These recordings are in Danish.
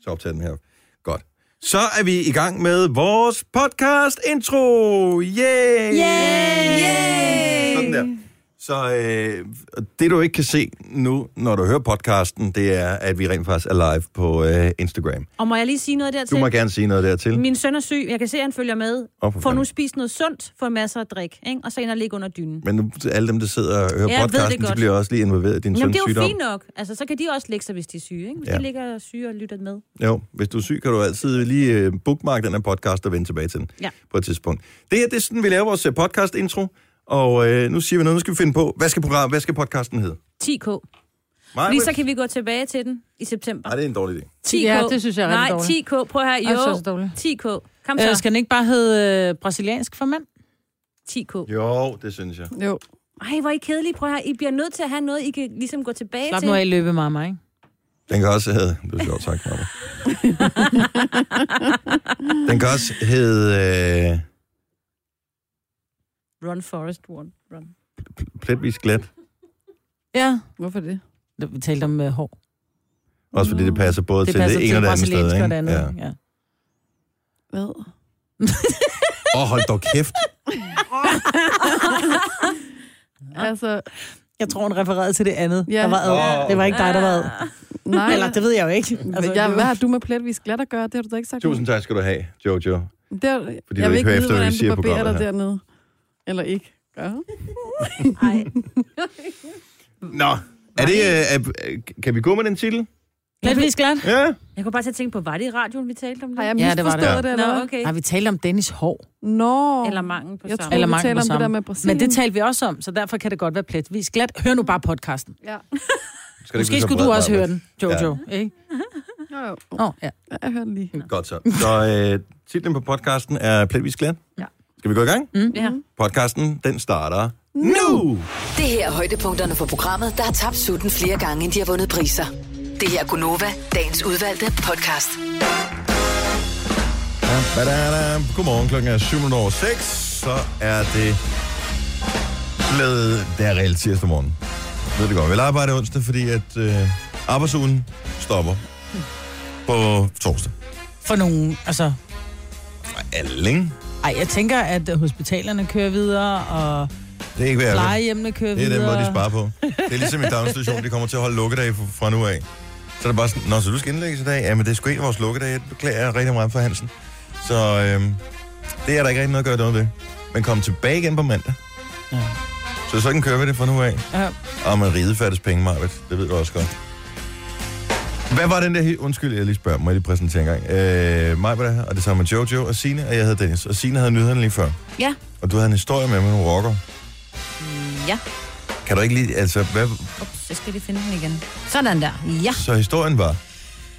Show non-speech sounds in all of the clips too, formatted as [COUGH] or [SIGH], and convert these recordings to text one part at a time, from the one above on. Så optager den her. Godt. Så er vi i gang med vores podcast intro. Yay! Yay! Sådan der. Så øh, det, du ikke kan se nu, når du hører podcasten, det er, at vi rent faktisk er live på øh, Instagram. Og må jeg lige sige noget dertil? Du må gerne sige noget dertil. Min søn er syg. Jeg kan se, at han følger med. Åh, for får nu fanden. spist noget sundt, får masser af drik, ikke? og så ind og ligge under dynen. Men nu, alle dem, der sidder og hører Ja, jeg ved det podcasten, de godt. bliver også lige involveret i din søns Jamen, det er jo sygdom. fint nok. Altså, så kan de også lægge sig, hvis de er syge. Ikke? Hvis Ja. ja. de ligger syge og lytter med. Jo, hvis du er syg, kan du altid lige øh, bookmark den her podcast og vende tilbage til den Ja. på et tidspunkt. Det her, det er sådan, vi laver vores øh, podcast-intro, og øh, nu siger vi noget, nu skal vi finde på, hvad skal, program, hvad skal podcasten hedde? 10K. Maja, Lige så kan vi gå tilbage til den i september. Nej, det er en dårlig idé. 10K. Ja, det synes jeg er Nej, rigtig dårligt. 10K. Prøv her. Ej, det er så Jo, dårligt. 10K. Kom Øh, så. skal den ikke bare hedde øh, brasiliansk for mænd? 10K. Jo, det synes jeg. Jo. Ej, hvor er I kedelige. Prøv her. I bliver nødt til at have noget, I kan ligesom gå tilbage Slap til. nu af i [LAUGHS] løbe, mamma, ikke? Den kan også hedde... Det er sjovt, tak, [LAUGHS] Maja. Den kan også hedde øh, [LAUGHS] Run, Forest, run. run. pletvis glat, Ja. Hvorfor det? Vi talte om øh, hår. også fordi det passer både Det til passer det ene til og det andet sted. brasiliansk Ikke? og det andet. Ja. Ja. Hvad? [LAUGHS] Åh, hold dog kæft. Altså, Jeg tror, hun refererede til det andet. Ja. Ah. Der var ad. Åh. Det var ikke dig, der var ad. nej. Eller, det ved jeg jo ikke. altså, det ja, var- hvad har du med pletvis glat at gøre? Det har du da ikke sagt. Tusind tak skal du have, Jojo. noget. Det er, Fordi jeg du vil ikke ikke hører vide, efter, hvad vi hvordan siger i du barberer dig programmet her. dernede. Eller ikke. Gør. [LAUGHS] Ej. Nå, er det, øh, er, kan vi gå med den titel? Lidt glat. Ja. Jeg kunne bare til at tænke på, var det i radioen, vi talte om det? Har jeg Ja, det var det. misforstået det, det, eller Nå, hvad? okay. Har vi talt om Dennis hår? Nå. Eller mangel på Jeg samme. tror- Eller vi mangel taler på om det samme. der med Brasilien. Men det talte vi også om, så derfor kan det godt være pletvis glat. Hør nu bare podcasten. Ja. Skal det ikke Måske blive så skulle du bred, også Maja? høre den, Jojo. Ikke? Jo, jo. Åh, oh, ja. Ja, Jeg hører den lige. Godt så. Så øh, titlen på podcasten er Pletvis Glat. Ja. Skal vi gå i gang? Mm. Ja. Podcasten, den starter nu! Det her er højdepunkterne fra programmet, der har tabt sutten flere gange, end de har vundet priser. Det her er Gunova, dagens udvalgte podcast. Ba-da-da. Godmorgen, klokken er 7 over 6. Så er det blevet... Det er reelt tirsdag morgen. Jeg ved det godt. Vi arbejder onsdag, fordi at øh, arbejdsugen stopper på torsdag. For nogen, altså... For alle, ikke? Ej, jeg tænker, at hospitalerne kører videre, og Det er ikke værd. plejehjemmene kører Det er den videre. måde, de sparer på. Det er ligesom i daginstitution, de kommer til at holde lukkedage fra- fra nu af. Så er det bare sådan, Nå, så du skal indlægges i dag? Jamen, det er sgu en af vores lukkedage. Det beklager jeg rigtig meget for Hansen. Så øhm, det er der ikke rigtig noget at gøre noget ved. Men kom tilbage igen på mandag. Ja. Så sådan kører vi det fra nu af. Ja. Og man ride Ah, færdes penge, Marvitt. Det ved du også godt. Hvad var den der... he- Undskyld, jeg lige spørger. Må jeg lige præsentere en gang? Øh, mig var der her, og det samme med Jojo og Sine, og jeg hedder Dennis. Og Sine havde nyhederne lige før. Ja. Og du havde en historie med, med nogle rocker. Ja. Kan du ikke lige... Altså, hvad, Ups, så skal de finde den igen. Sådan der. Ja. Så historien var,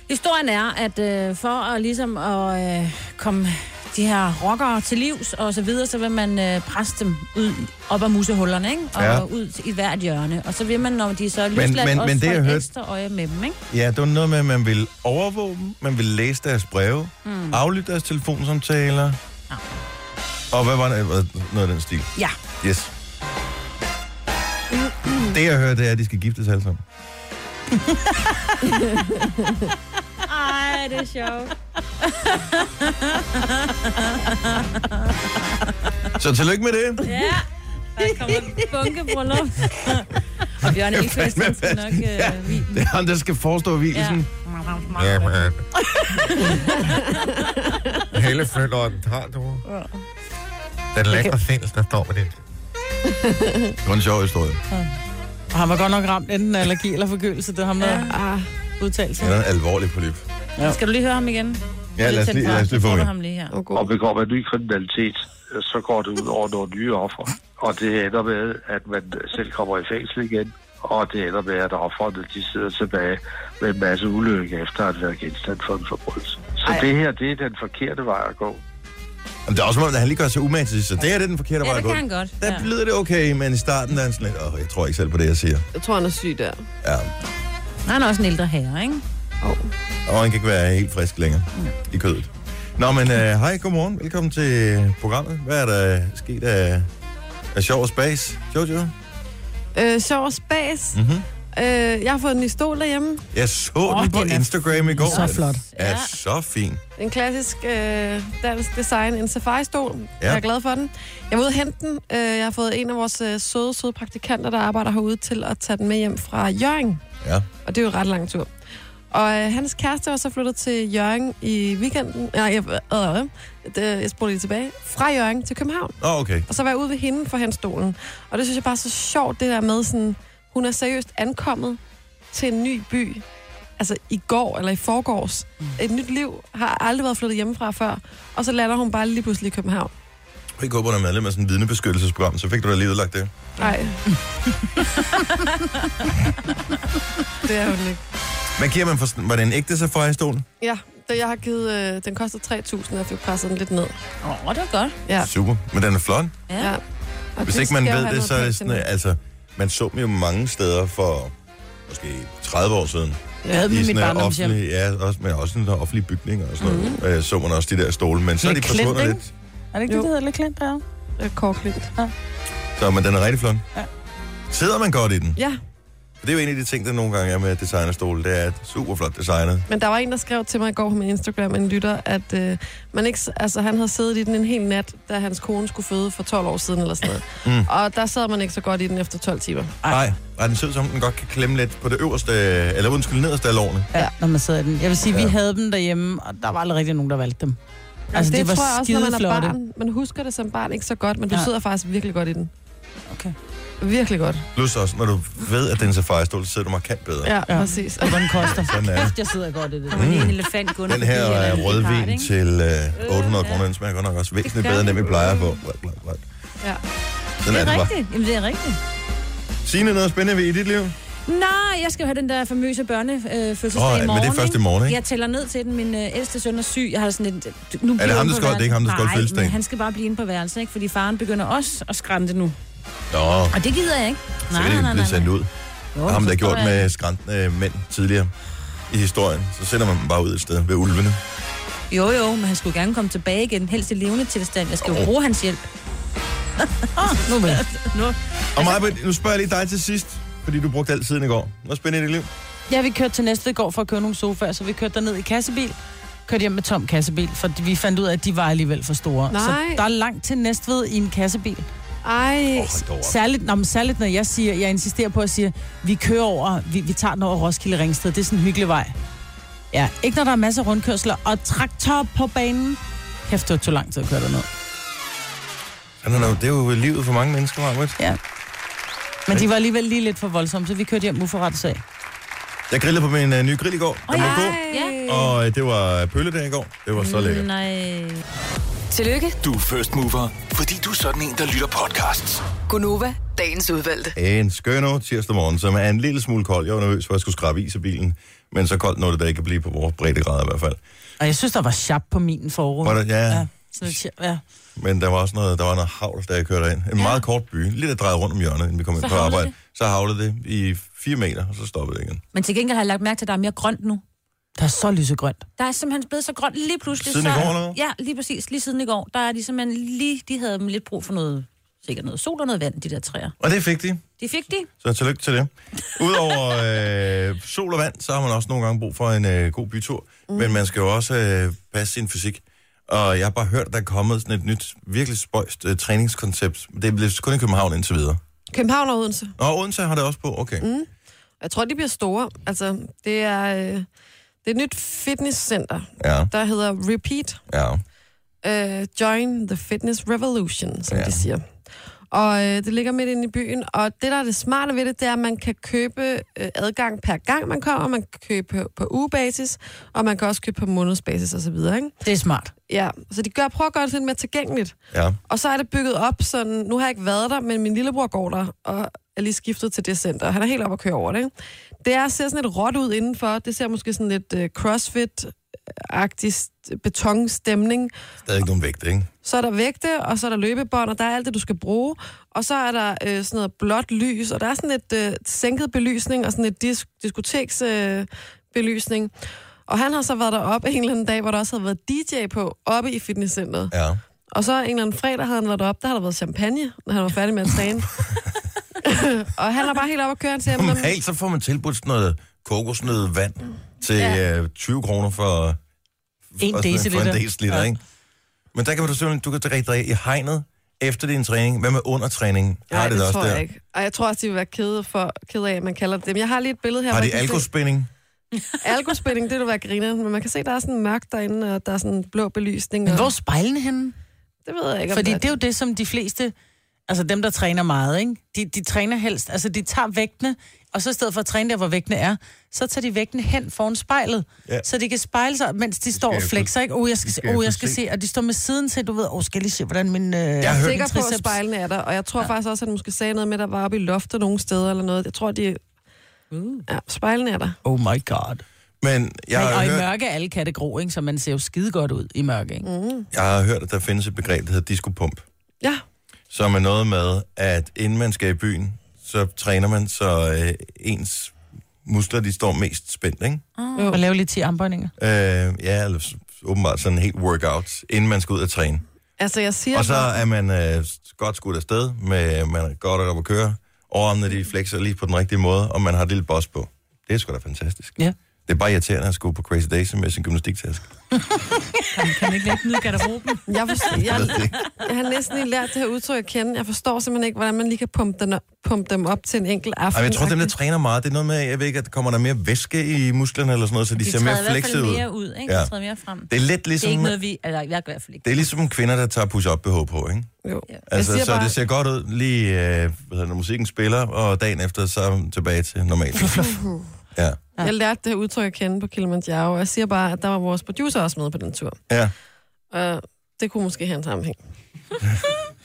Historien er, at øh, for at, ligesom at øh, komme de her rockere til livs og så videre, så vil man øh, presse dem ud op af musehullerne, ikke? Og Ja. ja. ud til- i hvert hjørne. Og så vil man, når de så er Men- løsladt, men- men, også men det, få jeg et hørte- ekstra øje med dem, ikke? ja, det var noget med, at man ville overvåge dem, man ville læse deres breve, mm. aflytte deres telefonsamtaler. Ja. Og hvad var det? Hvad- Noget af den stil. Ja. Yes. Det, jeg hører, det er, at de skal giftes alle sammen. Ej, det er sjovt. Så tillykke med det. Ja. Der kommer en bunke bryllup. og Bjørn Elfæs, [LAUGHS] han skal nok øh, vide. Det er ham, der skal forestå hvilesen. Ja. men. Hele føleren har du. Den lækre fæls, der står med det. Det var en sjov historie. Og han var godt nok ramt enten af allergi eller forkølelse. Det har ham, der ja. udtalte sig. Det er en alvorlig polyp. Skal du lige høre ham igen? Ja, lad os lige, lad os lige få med. med. ham lige her. Og og god. begår man ny kriminalitet, så går det ud over nogle nye offer. Og det ender med, at man selv kommer i fængsel igen, og det ender med, at offerne de sidder tilbage med en masse ulykke efter at have været genstand for en forbrydelse. Så Ej. det her, det er den forkerte vej at gå. Jamen, det er også som om, at han lige gør sig umage til sidst, så det her det er den forkerte Ja, vej at det gå. kan han godt. Der Ja. [LAUGHS] lyder det okay, men i starten der er han sådan lidt, åh, jeg tror ikke selv på det, jeg siger. Jeg tror, han er syg der. Ja, Han er også en ældre herre, ikke? og han kan ikke være helt frisk længere Mm. i kødet. Nå, men øh, hej, godmorgen. Velkommen til programmet. Hvad er der sket af, af sjov og spas, Jojo? Øh, sjov og spas. Mhm. Mm-hmm. Øh, jeg har fået en ny stol derhjemme. Jeg så Åh, oh, den på den er Instagram i går. så flot. Ja. Ja. Er så fin. En klassisk øh, dansk design, en safari-stol. Ja. Ja. Jeg er glad for den. Jeg var ude og hente den. Øh, jeg har fået en af vores øh, søde, søde praktikanter, der arbejder herude, til at tage den med hjem fra Jørgen. Ja. Og det er jo en ret lang tur. Og øh, hans kæreste var så flyttet til Jørgen i weekenden. Nej, jeg, øh, øh, det- jeg spoler lige tilbage. Fra Jørgen til København. Åh, oh, okay. Og så var jeg ude ved hende for hans stolen. Og det synes jeg bare er så sjovt, det der med sådan... Hun er seriøst ankommet til en ny by. Altså i går eller i forgårs. Mm. Et nyt liv. Har aldrig været flyttet hjemmefra før. Og så lander hun bare lige pludselig i København. Og I går på, at medlem af sådan et vidnebeskyttelsesprogram, så fik du da lige udlagt det. [LAUGHS] Nej. det er hun ikke. Men giver man for, sådan- var det en ægte safari-stol? Ja, det, jeg har givet... Øh, den koster 3.000, og jeg fik presset den lidt ned. Åh, oh, det er godt. Ja. Super. Men den er flot. ja. Og Hvis det ikke man skal jo ved have det, noget så er det pænt sådan, til at, altså, man så dem jo mange steder for måske 30 år siden. Jeg havde dem i mit øh, barndomshjem. offentlige, ja, også, men også sådan der offentlige bygninger og sådan noget. Øh, så man også de der stole, men så er de Med klint, forsvundet ikke? lidt. Er det ikke Jo. det, der hedder Klint, der er? mig. Øh, Kårklint. Så men den er rigtig flot. Ja. Sidder man godt i den? Ja, For det er jo en af de ting, der nogle gange er med designerstole. Det er at super flot designet. men der var en, der skrev til mig i går på min Instagram, en lytter, at øh, man ikke, s- altså, han havde siddet i den en hel nat, da hans kone skulle føde for 12 år siden eller sådan noget. Mm. Mm. Og der sad man ikke så godt i den efter 12 timer. Ej. Nej, og den ser ud som, om den godt kan klemme lidt på det øverste, eller undskyld, nederste af lårene. Ja, når man sidder i den. Jeg vil sige, ja. Ja. vi havde dem derhjemme, og der var aldrig rigtig nogen, der valgte dem. Altså, det, det var tror jeg også, når man er skideflotte. barn. Man husker det som barn ikke så godt, men du Nej. sidder faktisk virkelig godt i den. Okay. Virkelig godt. Plus også, når du ved, at den safari-stol, så sidder du markant bedre. Ja, Ja. ja. præcis. Og den koster. Sådan er det. Kæft, jeg sidder godt i det. Mm. der. En elefant går Den her er rødvin til øh, 800 kroner. Den smager godt nok også væsentligt Det gør bedre, end den vi den. plejer på. Blah, blah, blah. Ja. Sådan Det er det er bare. rigtigt. Jamen, det er rigtigt. Signe, noget spændende ved i dit liv? Nej, jeg skal jo have den der famøse børnefødselsdag Åh, oh, men i det er morgen. først i morgen, ikke? Jeg tæller ned til den. Min øh, ældste søn er syg. Jeg har sådan et... øh, Nu bliver ham, han der på skal- det er værelset? ikke ham, der skal holde Nej, fødselsdagen? men han skal bare blive inde på værelset, ikke? Fordi faren begynder også at skrænte nu. Nå, Og det gider jeg ikke. så kan det ikke blive sendt ud. Jo, Der er ham, der har så gjort står jeg- med skræntende øh, mænd tidligere i historien. Så sender man dem bare ud et sted ved ulvene. Jo, jo, men han skulle gerne komme tilbage igen. Helst i levende tilstand. Jeg skal jo Åh. bruge hans hjælp. Nu vel. Og Maja, nu spørger jeg lige dig til sidst, fordi du brugte alt tiden i går. Noget spændende i dit liv? Ja, vi kørte til næste går for at købe nogle sofaer, så vi kørte derned i kassebil. Kørte hjem med tom kassebil, for vi fandt ud af, at de var alligevel for store. Så Nej. der er langt til Næstved i en kassebil. Ej, Åh, hold da op. Særligt, nå, men særligt når jeg siger, jeg insisterer på at sige, vi kører over, vi, vi tager den over Roskilde Ringsted. Det er sådan en hyggelig vej. Ja, ikke når der er masser af rundkørsler og traktor på banen. Kæft, det tog lang tid at køre derned. Sådan er det jo- Det er jo livet for mange mennesker, Maja. Men de var alligevel lige lidt for voldsomme, så vi kørte hjem uforrettet sag. Jeg grillede på min øh, nye grill i går. Den var god. Ja. Og øh, det var pølledag i går. Det var så lækkert. Nej. Tillykke, Du er first mover, fordi du er sådan en, der lytter podcasts. Gunova, dagens udvalgte. En skønne tirsdag morgen, som er en lille smule kold. Jeg var nervøs for, at jeg skulle skrabe is i bilen. Men så koldt nåede det da ikke at blive på vores breddegrader i hvert fald. Og jeg synes, der var sharp på min forud. Var der, ja, Ja, sådan lidt, sharp, ja. men der var også noget, der var noget havl, da jeg kørte ind. En meget kort by, lidt at dreje rundt om hjørnet, inden vi kom ind Så på haglede arbejde. Så havlede det i fire meter, og så stoppede det igen. Men til gengæld har jeg lagt mærke til, at der er mere grønt nu. Der er så lysegrønt. Der er simpelthen blevet så grønt lige pludselig. Siden i så, går, eller hvad? Ja, lige præcis. Lige siden i går. Der er de simpelthen lige... De havde dem lidt brug for noget... Sikkert noget sol og noget vand, de der træer. Og det fik de, De fik de. så tillykke til det. Udover øh, sol og vand, så har man også nogle gange brug for en øh, god bytur. Mm. Men man skal jo også øh, passe sin fysik. Og jeg har bare hørt, at der er kommet sådan et nyt, virkelig spøjst øh, træningskoncept. Det er blevet kun i København indtil videre. København og Odense. Nå, Odense har det også på, okay. Mm. Jeg tror, de bliver store. Altså, det er, øh, det er et nyt fitnesscenter, Ja, der hedder Repeat. ja. øh, Join the Fitness Revolution, som Ja. ja. de siger. Og øh, det ligger midt inde i byen, og det, der er det smarte ved det, det er, at man kan købe øh, adgang per gang, man kommer. Man kan købe på, på ugebasis, og man kan også købe på månedsbasis osv. Det er smart. Ja, så de gør, prøver at gøre det lidt mere tilgængeligt. ja. Og så er det bygget op sådan, nu har jeg ikke været der, men min lillebror går der, og er lige skiftet til det center. Han er helt op at køre over det. Ikke? Det er, ser sådan lidt råt ud indenfor. Det ser måske sådan lidt øh, crossfit-agtig st- betonstemning. Stadig nogen vægt, ikke? Så er der vægte, og så er der løbebånd, og der er alt det, du skal bruge. Og så er der øh, sådan noget blåt lys, og der er sådan lidt øh, sænket belysning og sådan lidt disk- diskoteksbelysning. Øh, belysning. og han har så været deroppe en eller anden dag, hvor der også havde været DJ på oppe i fitnesscenteret. Ja. [LAUGHS] Og så en eller anden fredag havde han været deroppe, der havde der været champagne, når han var færdig med at træne. og han er bare helt op at køre han til ham. Normalt så får man tilbudt sådan noget kokosnød vand til ja. 20 kroner for, En for, sådan- for deciliter. en deciliter, ja. Ja. ikke? Men der kan du simpelthen, du kan drikke dig i hegnet efter din træning. Hvad med under træning? Har Nej, de det, også tror der? jeg ikke. Og jeg tror også, de vil være kede, for, kede af, at man kalder det dem. Jeg har lige et billede her. Har hvor de jeg kan se- alkospænding? Algospænding, det vil være grineren, men man kan se, der er sådan mørkt derinde, og der er sådan blå belysning. Men Og... hvor er spejlene henne? Det ved jeg ikke, om Fordi der det er jo det, som de fleste, altså dem, der træner meget, ikke? De, de træner helst, altså de tager vægtene, og så i stedet for at træne der, hvor vægtene er, så tager de vægtene hen foran spejlet, Ja. ja. så de kan spejle sig, mens de står og jeg kunne- flexer, ikke? Oh, jeg skal, det se, skal jeg oh, kunne jeg skal se. se, og de står med siden til, du ved, oh, skal jeg lige se, hvordan min... Øh, jeg har hørt- Jeg er sikker på, at spejlene er der, og jeg tror ja. faktisk også, at han måske sagde noget med, at der var oppe i loftet nogle steder eller noget. Jeg tror, de... Mm. Uh. Ja, spejlene er der. Oh my god. Men jeg Men, har, og i hørt, mørke er alle katte grå, ikke? Så man ser jo skide godt ud i mørke, ikke? Mm. jeg har hørt, at der findes et begreb, der hedder diskopump. Ja, som er noget med, at inden man skal i byen, så træner man, så øh, ens muskler, de står mest spændt, ikke? Ah. Og lave lige 10 armbøjninger. Øh, ja, eller s- åbenbart sådan en helt workout, inden man skal ud og træne. altså jeg siger... Og så bare- er man øh, godt skudt afsted, med, man er godt op at køre, overarmene de flexer lige på den rigtige måde, og man har et lille boss på. Det er sgu da fantastisk. Ja. Det er bare irriterende at skulle på Crazy Days med sin gymnastiktaske. Kan ikke lægge ned i garderoben? [LAUGHS] Jeg, forstår, Jeg jeg, ved det ikke. jeg har næsten lige lært det her udtryk at kende. Jeg forstår simpelthen ikke, hvordan man lige kan pumpe, den op, pumpe dem op til en enkelt aften. Ej, men jeg tror, dem, der træner meget, det er noget med, jeg ved ikke, at der kommer der mere væske i musklerne eller sådan noget, så de, De ser træder mere i hvert flexede fald ud. mere ud, ikke? Ja. De træder mere frem. Det er lidt Det ligesom... er ikke noget, vi... Eller jeg gør i hvert fald ikke. Det er ligesom kvinder, der tager push-up BH på, ikke? Jo. Altså, siger så bare- det ser godt ud lige, øh, hvad hedder det, når musikken spiller, og dagen efter, så er man tilbage til normalt. ja. Jeg lærte det her udtryk at kende på Kilimanjaro, og jeg siger bare, at der var vores producer også med på den tur. ja. Og det kunne måske have en sammenhæng.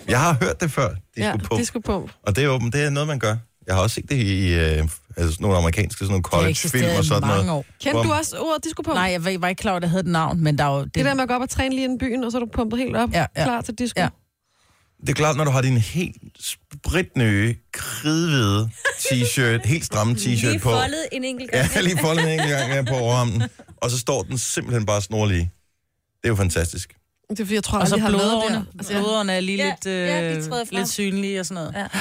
Jeg har hørt det før, de ja, skulle på. de skulle på. Og det er åbent, det er noget, man gør. Jeg har også set det i øh, altså sådan nogle amerikanske sådan nogle college-film og sådan noget. år. Kendte Bom. du også ordet, de skulle på? Nej, jeg var, jeg var ikke klar over, at det havde et navn, men der er jo... Det, Det der med at gå op og træne lige inden byen, og så er du pumpet helt op, Ja, ja. klar til disco. Ja. Det er klart, når du har din helt spritnøje, kridhvide t-shirt, helt stramme t-shirt Lige på. foldet en enkelt gang. Ja, lige foldet en enkelt gang ja, på overarmen. Og så står den simpelthen bare snorlig. Det er jo fantastisk. Det er fordi, jeg tror Og aldrig, så jeg har lavet det blodårene. her. Altså, blodårene er lige Ja, lidt, ja, de træder øh, frem. lidt synlige og sådan noget. Ja.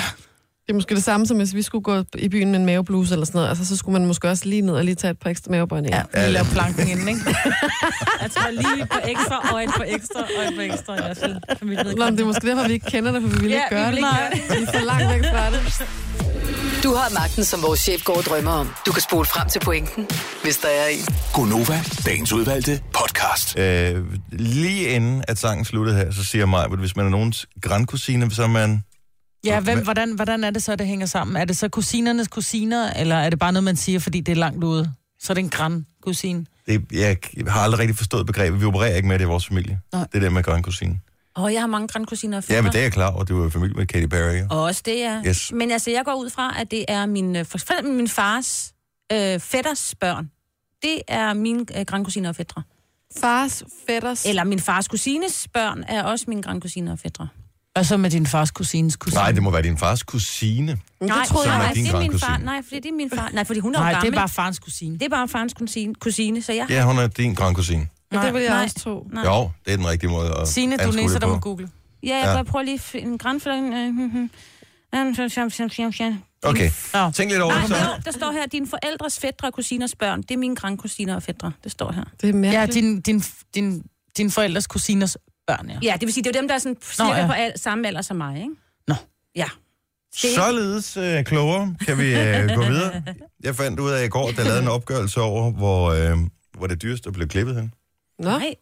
Det er måske det samme, som hvis vi skulle gå i byen med en mavebluse eller sådan noget. Altså, så skulle man måske også lige ned og lige tage et par ekstra mavebøjninger. Ja. Ja, Ja, vi laver det- planken inden, ikke? Jeg tror lige på ekstra, og et på ekstra, og et på ekstra. Jeg er Nå, men det er måske derfor, vi ikke kender det, for vi vil Ja, ikke gøre vi det. vil ikke Vi er så langt væk fra det. Du har magten, som vores chef går og drømmer om. Du kan spole frem til pointen, hvis der er en. Gonova, dagens udvalgte podcast. Øh, lige inden at sangen sluttede her, så siger mig, at hvis man er nogens grandkusine, så er man... Ja, hvem, hvordan, hvordan er det så, det hænger sammen? Er det så kusinernes kusiner, eller er det bare noget, man siger, fordi det er langt ude? Så er det en græn kusine. Det, jeg har aldrig rigtig forstået begrebet. Vi opererer ikke med det i vores familie. Nej. Det der med grandkusine. Åh, oh, jeg har mange grandkusiner og Ja, men det fætre. er jeg klar over. Du er jo i familie med Katy Perry. jo. Og Også det, ja. Yes. Men altså, jeg går ud fra, at det er min, øh, for eksempel min fars øh, fætters børn. Det er mine øh, grandkusiner og fædre. Fars, fætters... Eller min fars kusines børn er også mine grandkusiner og fædre. Og så med din fars kusines kusine. Nej, det må være din fars kusine. Nej, troede jeg. Som er nej, din det er min far. grandkusine. Nej, fordi det er min far. Nej, fordi hun er jo Nej gammel. det er bare farens kusine. det er bare farens kusine, kusine så jeg... Ja, hun er din grandkusine. Men det vil jeg Nej. også tro. Nej. Jo, det er den rigtige måde at Signe, du anskue næser det dig på. med Google. Ja, Ja. jeg ja. prøver lige at finde en øh, hmm, grandfælder. Okay, Nå. tænk lidt over Nej, det så. jo, der står her, dine forældres fædre og kusiners børn. Det er mine grandkusiner og fædre, det står her. Det er Ja, mærkeligt. din, din, din, din forældres kusiners børn, ja. Ja, det vil sige, det er jo dem, der er sådan cirka ja. på al- samme alder som mig, ikke? Nå. Ja. Således øh, klogere kan vi øh, gå videre. Jeg fandt ud af i går, at der lavede en opgørelse over, hvor, øh, hvor det dyreste blev klippet hen. Nå, Nej.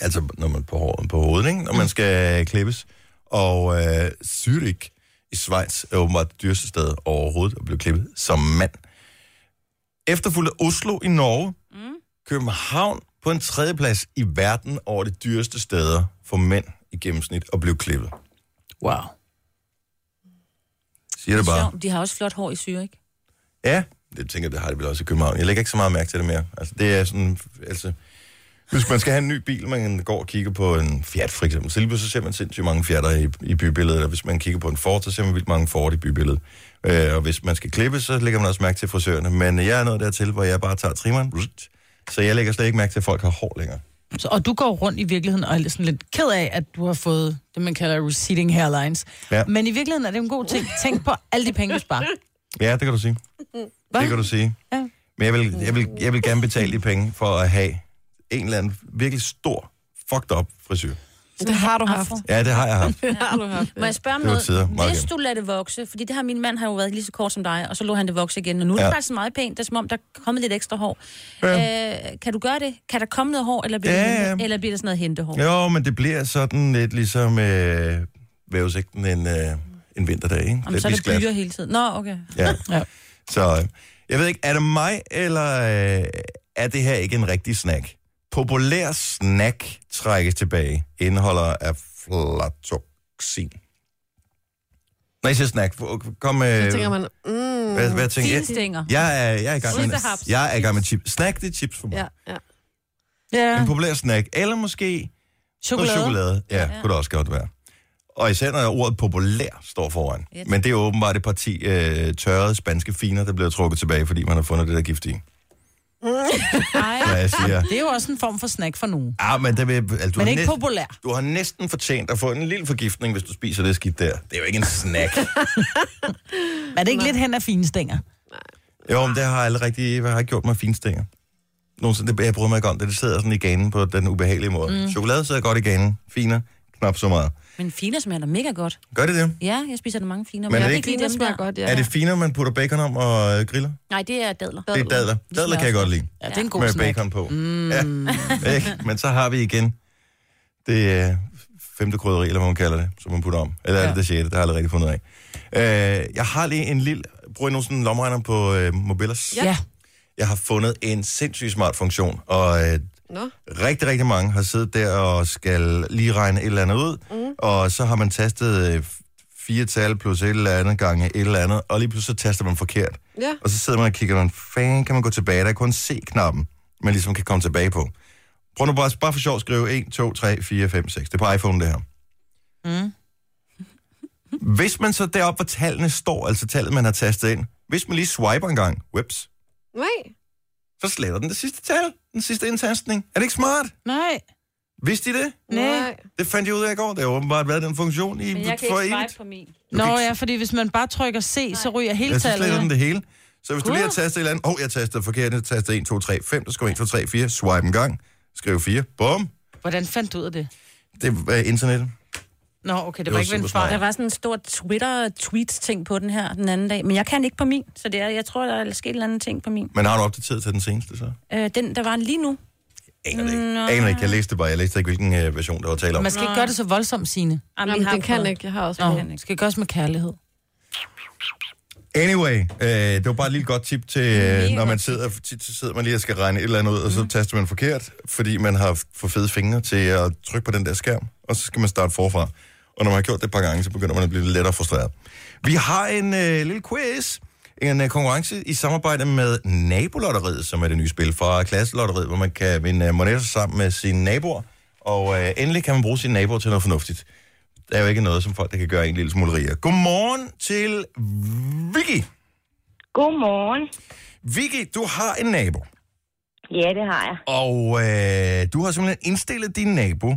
Altså, når man på, hår, på hovedet, ikke? Når man skal klippes. Og øh, Zürich i Schweiz er åbenbart det dyreste sted overhovedet at blive klippet som mand. Efterfulgt af Oslo i Norge. Mm. København på en tredjeplads i verden over de dyreste steder for mænd i gennemsnit at blive klippet. Wow. Siger det bare. Sjovt, de har også flot hår i Zürich. Ja, det tænker jeg, det har det vel også i København. Jeg lægger ikke så meget mærke til det mere. Altså, det er sådan, altså, hvis man skal have en ny bil, man går og kigger på en Fiat for eksempel, så lige pludselig ser man sindssygt mange Fiat'er i, i bybilledet, eller hvis man kigger på en Ford, så ser man vildt mange Ford i bybilledet. Øh, og hvis man skal klippe, så lægger man også mærke til frisørerne. Men jeg er nået dertil, hvor jeg bare tager trimmeren, så jeg lægger slet ikke mærke til, at folk har hår længere. Så, og du går rundt i virkeligheden og er sådan lidt ked af, at du har fået det, man kalder receding hairlines. Ja. Men i virkeligheden er det en god ting. Tænk på alle de penge, du sparer. Ja, det kan du sige. Hva? Det kan du sige. [LAUGHS] Ja. Men jeg vil, jeg, vil, jeg vil gerne betale de penge for at have en eller anden virkelig stor, fucked up frisyr. Det har du haft. Ja, det har jeg haft. Det har du haft. Må jeg spørge om Det var noget? tider. Meget Hvis gerne. du lader det vokse, fordi det har min mand har jo været lige så kort som dig, og så lå han det vokse igen, og nu er det Ja. faktisk meget pænt, det er som om, der er kommet lidt ekstra hår. Øh, kan du gøre det? Kan der komme noget hår, eller bliver, Ja, det, ja. hente- eller bliver det sådan noget hentehår? Jo, men det bliver sådan lidt ligesom øh, vævesigten en, øh, en vinterdag, ikke? Jamen, så er det visglat. byer hele tiden. Nå, okay. Ja. [LAUGHS] Ja. Så øh, jeg ved ikke, er det mig, eller øh, er det her ikke en rigtig snack? Populær snack trækkes tilbage. Indeholder af flatoxin. Når jeg siger snack, f- kom med... Så tænker man, mm, Øh, hvad, hvad tænker jeg? Finstænger. Jeg er, jeg er i gang med, Sildehaps. jeg er i gang med chips. Snack, det er chips for mig. ja, ja. Ja. En populær snack. Eller måske Chokolade. Noget chokolade, ja, ja, Ja. kunne det også godt være. Og især når ordet populær står foran. Yes. Men det er åbenbart et parti øh, tørrede spanske finer, der bliver trukket tilbage, fordi man har fundet det der gift i. Nej, Så jeg siger, [LAUGHS] det er jo også en form for snack for nogen. ah, men, det vil, altså, du, Men har ikke næsten, populær. du har næsten fortjent at få en lille forgiftning, hvis du spiser det skidt der. Det er jo ikke en snack. [LAUGHS] Er det ikke lidt hen af finstænger? jo, men det har jeg aldrig rigtig, hvad har jeg gjort med finstænger? Nogensinde, det, jeg bryder mig ikke om det. Det sidder sådan i ganen på den ubehagelige måde. Mm. Chokolade sidder godt i ganen. Finer, knap så meget. Men finer smager da mega godt. Gør det det? Ja, jeg spiser da mange finer. Men er jeg det kan ikke- lide Finer dem smager der. godt, ja. Ja. Er det finer, man putter bacon om og øh, griller? Nej, det er dadler. Det er dadler. Dadler kan jeg godt lide. Ja, det er en god med snack. bacon på. Mm. Ja, [LAUGHS] ikke? Men så har vi igen det øh, femte krydderi, eller hvad man kalder det, som man putter om. Eller ja. er det Ja. det sjette? Det har jeg aldrig rigtig fundet ud af. Øh, jeg har lige en lille... Bruger I nogensinde en lommeregner på øh, Mobilus? Ja. Jeg har fundet en sindssygt smart funktion, og øh, Nå. rigtig, rigtig mange har siddet der og skal lige regne et eller andet ud, mm. og så har man tastet øh, fire tal plus et eller andet gange et eller andet, og lige pludselig så taster man forkert. Ja. Og så sidder man og kigger, hvordan fanden kan man gå tilbage? Der er kun C-knappen, man ligesom kan komme tilbage på. Prøv nu bare, bare for sjov at skrive 1, 2, 3, 4, 5, 6. Det er på iPhone, det her. Mm. hvis man så deroppe, hvor tallene står, altså tallet, man har tastet ind, hvis man lige swiper en gang, whoops, Nej. så sletter den det sidste tal, den sidste indtastning. Er det ikke smart? Nej. Vidste I det? Nej. Det fandt jeg ud af i går. Det har åbenbart været den funktion i Men jeg kan for ikke evigt. swipe på min. Nå kan ikke- ja, fordi hvis man bare trykker C, så ryger hele Jeg synes, tallet. sletter den det hele. Så hvis du Gud. lige har tastet et eller andet, åh, oh, jeg tastede forkert, jeg tastede 1, 2, 3, 5, så skriver 1, 2, 3, 4, swipe en gang, skriv 4, bum, Hvordan fandt du ud af det? det var internettet. Nå, okay, det, var var ikke ved en supersmart. Der fejl. var sådan en stor Twitter-tweet-ting på den her den anden dag, men jeg kan ikke på min, så det er, jeg tror, der er sket en eller anden ting på min. Men har du opdateret til den seneste så? Øh, den, der var lige nu. Aner det ikke. Nå. Aner det ikke. Jeg læste det bare. Jeg læste ikke, hvilken øh, version, der var tale om. Man skal ikke gøre det så voldsomt, Signe. Jamen, Jamen, den kan ikke. Jeg har også Nå, prøvet. det skal gøres med kærlighed. Anyway, øh, det var bare et lille godt tip Mm. til, øh, når man sidder, tit så sidder man lige og skal regne et eller andet ud, og så taster man forkert, fordi man har f- for fede fingre til at trykke på den der skærm, og så skal man starte forfra. Og når man har gjort det et par gange, så begynder man at blive lidt lettere frustreret. Vi har en øh, lille quiz, en øh, konkurrence i samarbejde med Nabolotteriet, som er det nye spil fra Klasselotteriet, hvor man kan vinde øh, monetter sammen med sine naboer, og øh, endelig kan man bruge sine naboer til noget fornuftigt. Der er jo ikke noget, som folk der kan gøre en lille smule rigere. Godmorgen til Vicky. Godmorgen. Vicky, du har en nabo, Ja, det har jeg. og øh, du har simpelthen indstillet din nabo,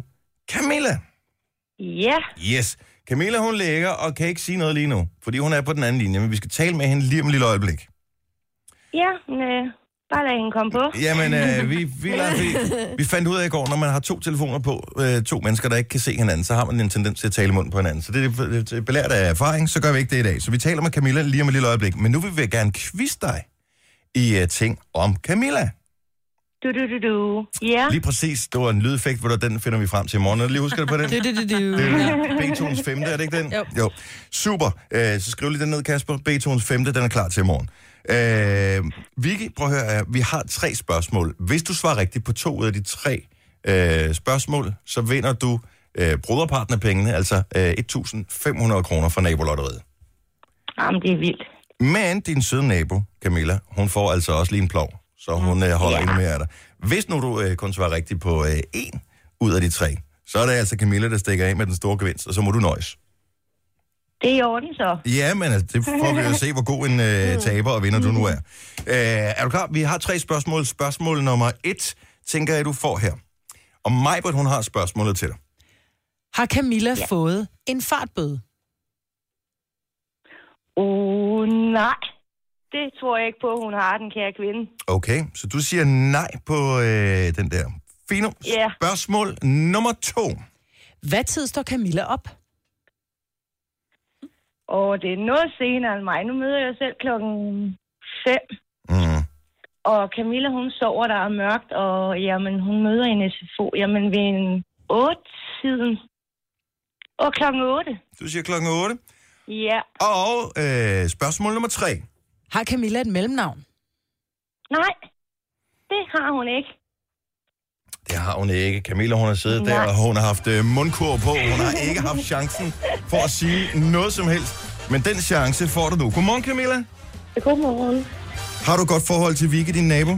Camilla. Ja, Yes. Camilla, hun ligger og kan ikke sige noget lige nu, fordi hun er på den anden linje, men vi skal tale med hende lige om et lille øjeblik. ja, men, øh, bare lad hende komme på. Jamen, øh, vi, vi, lader, vi, vi fandt ud af i går, når man har to telefoner på, øh, to mennesker, der ikke kan se hinanden, så har man en tendens til at tale i munden på hinanden. Så det er- det er belært af erfaring, så gør vi ikke det i dag. Så vi taler med Camilla lige om et lille øjeblik, men nu vil vi gerne quizze dig i øh, ting om Camilla. [LAUGHS] Du, du, du, du. Ja, Lige præcis, det var en lydeffekt, hvor der- den finder vi frem til i morgen. Er du lige husker det på den? [LAUGHS] Du, du, du, du. Det er Beethovens 5. er det ikke den? Jo. jo. Super. Øh, så skriv lige den ned, Kasper. Beethovens 5. den er klar til i morgen. Øh, Vicky, prøv at høre, her. vi har tre spørgsmål. Hvis du svarer rigtigt på to ud af de tre øh, spørgsmål, så vinder du øh, broderparten af pengene, altså øh, 1.500 kroner fra nabolotteriet. jamen, det er vildt. Men din søde nabo, Camilla, hun får altså også lige en plov, så hun øh, holder Ja. endnu mere af dig. Hvis nu du øh, kun svarer rigtigt på øh, en ud af de tre, så er det altså Camilla, der stikker af med den store gevinst, og så må du nøjes. Det er i orden så. Ja, men altså, det får vi jo se, hvor god en Mm. øh, taber og vinder du nu er. Øh, er du klar? Vi har tre spørgsmål. Spørgsmål nummer et, tænker jeg, du får her. Og Majbert, hun har spørgsmålet til dig. Har Camilla ja. fået en fartbøde? Uh, nej. Det tror jeg ikke på, hun har, den kære kvinde. Okay, så du siger nej på øh, den der. Fino. Ja. Spørgsmål nummer to. Hvad tid står Camilla op? Og det er noget senere end mig. Nu møder jeg selv klokken 5. Mm. Og Camilla, hun sover, der er mørkt, og jamen, hun møder en SFO, jamen ved en 8-tiden. Og klokken 8. Du siger klokken 8. Ja. Og øh, spørgsmål nummer tre. Har Camilla et mellemnavn? Nej, det har hun ikke. Det har hun ikke. Camilla, hun har siddet Nej. der, og hun har haft øh, mundkur på. Hun har ikke haft chancen for at sige noget som helst. Men den chance får du nu. Godmorgen, Camilla. Godmorgen. Har du et godt forhold til Vicky, din nabo?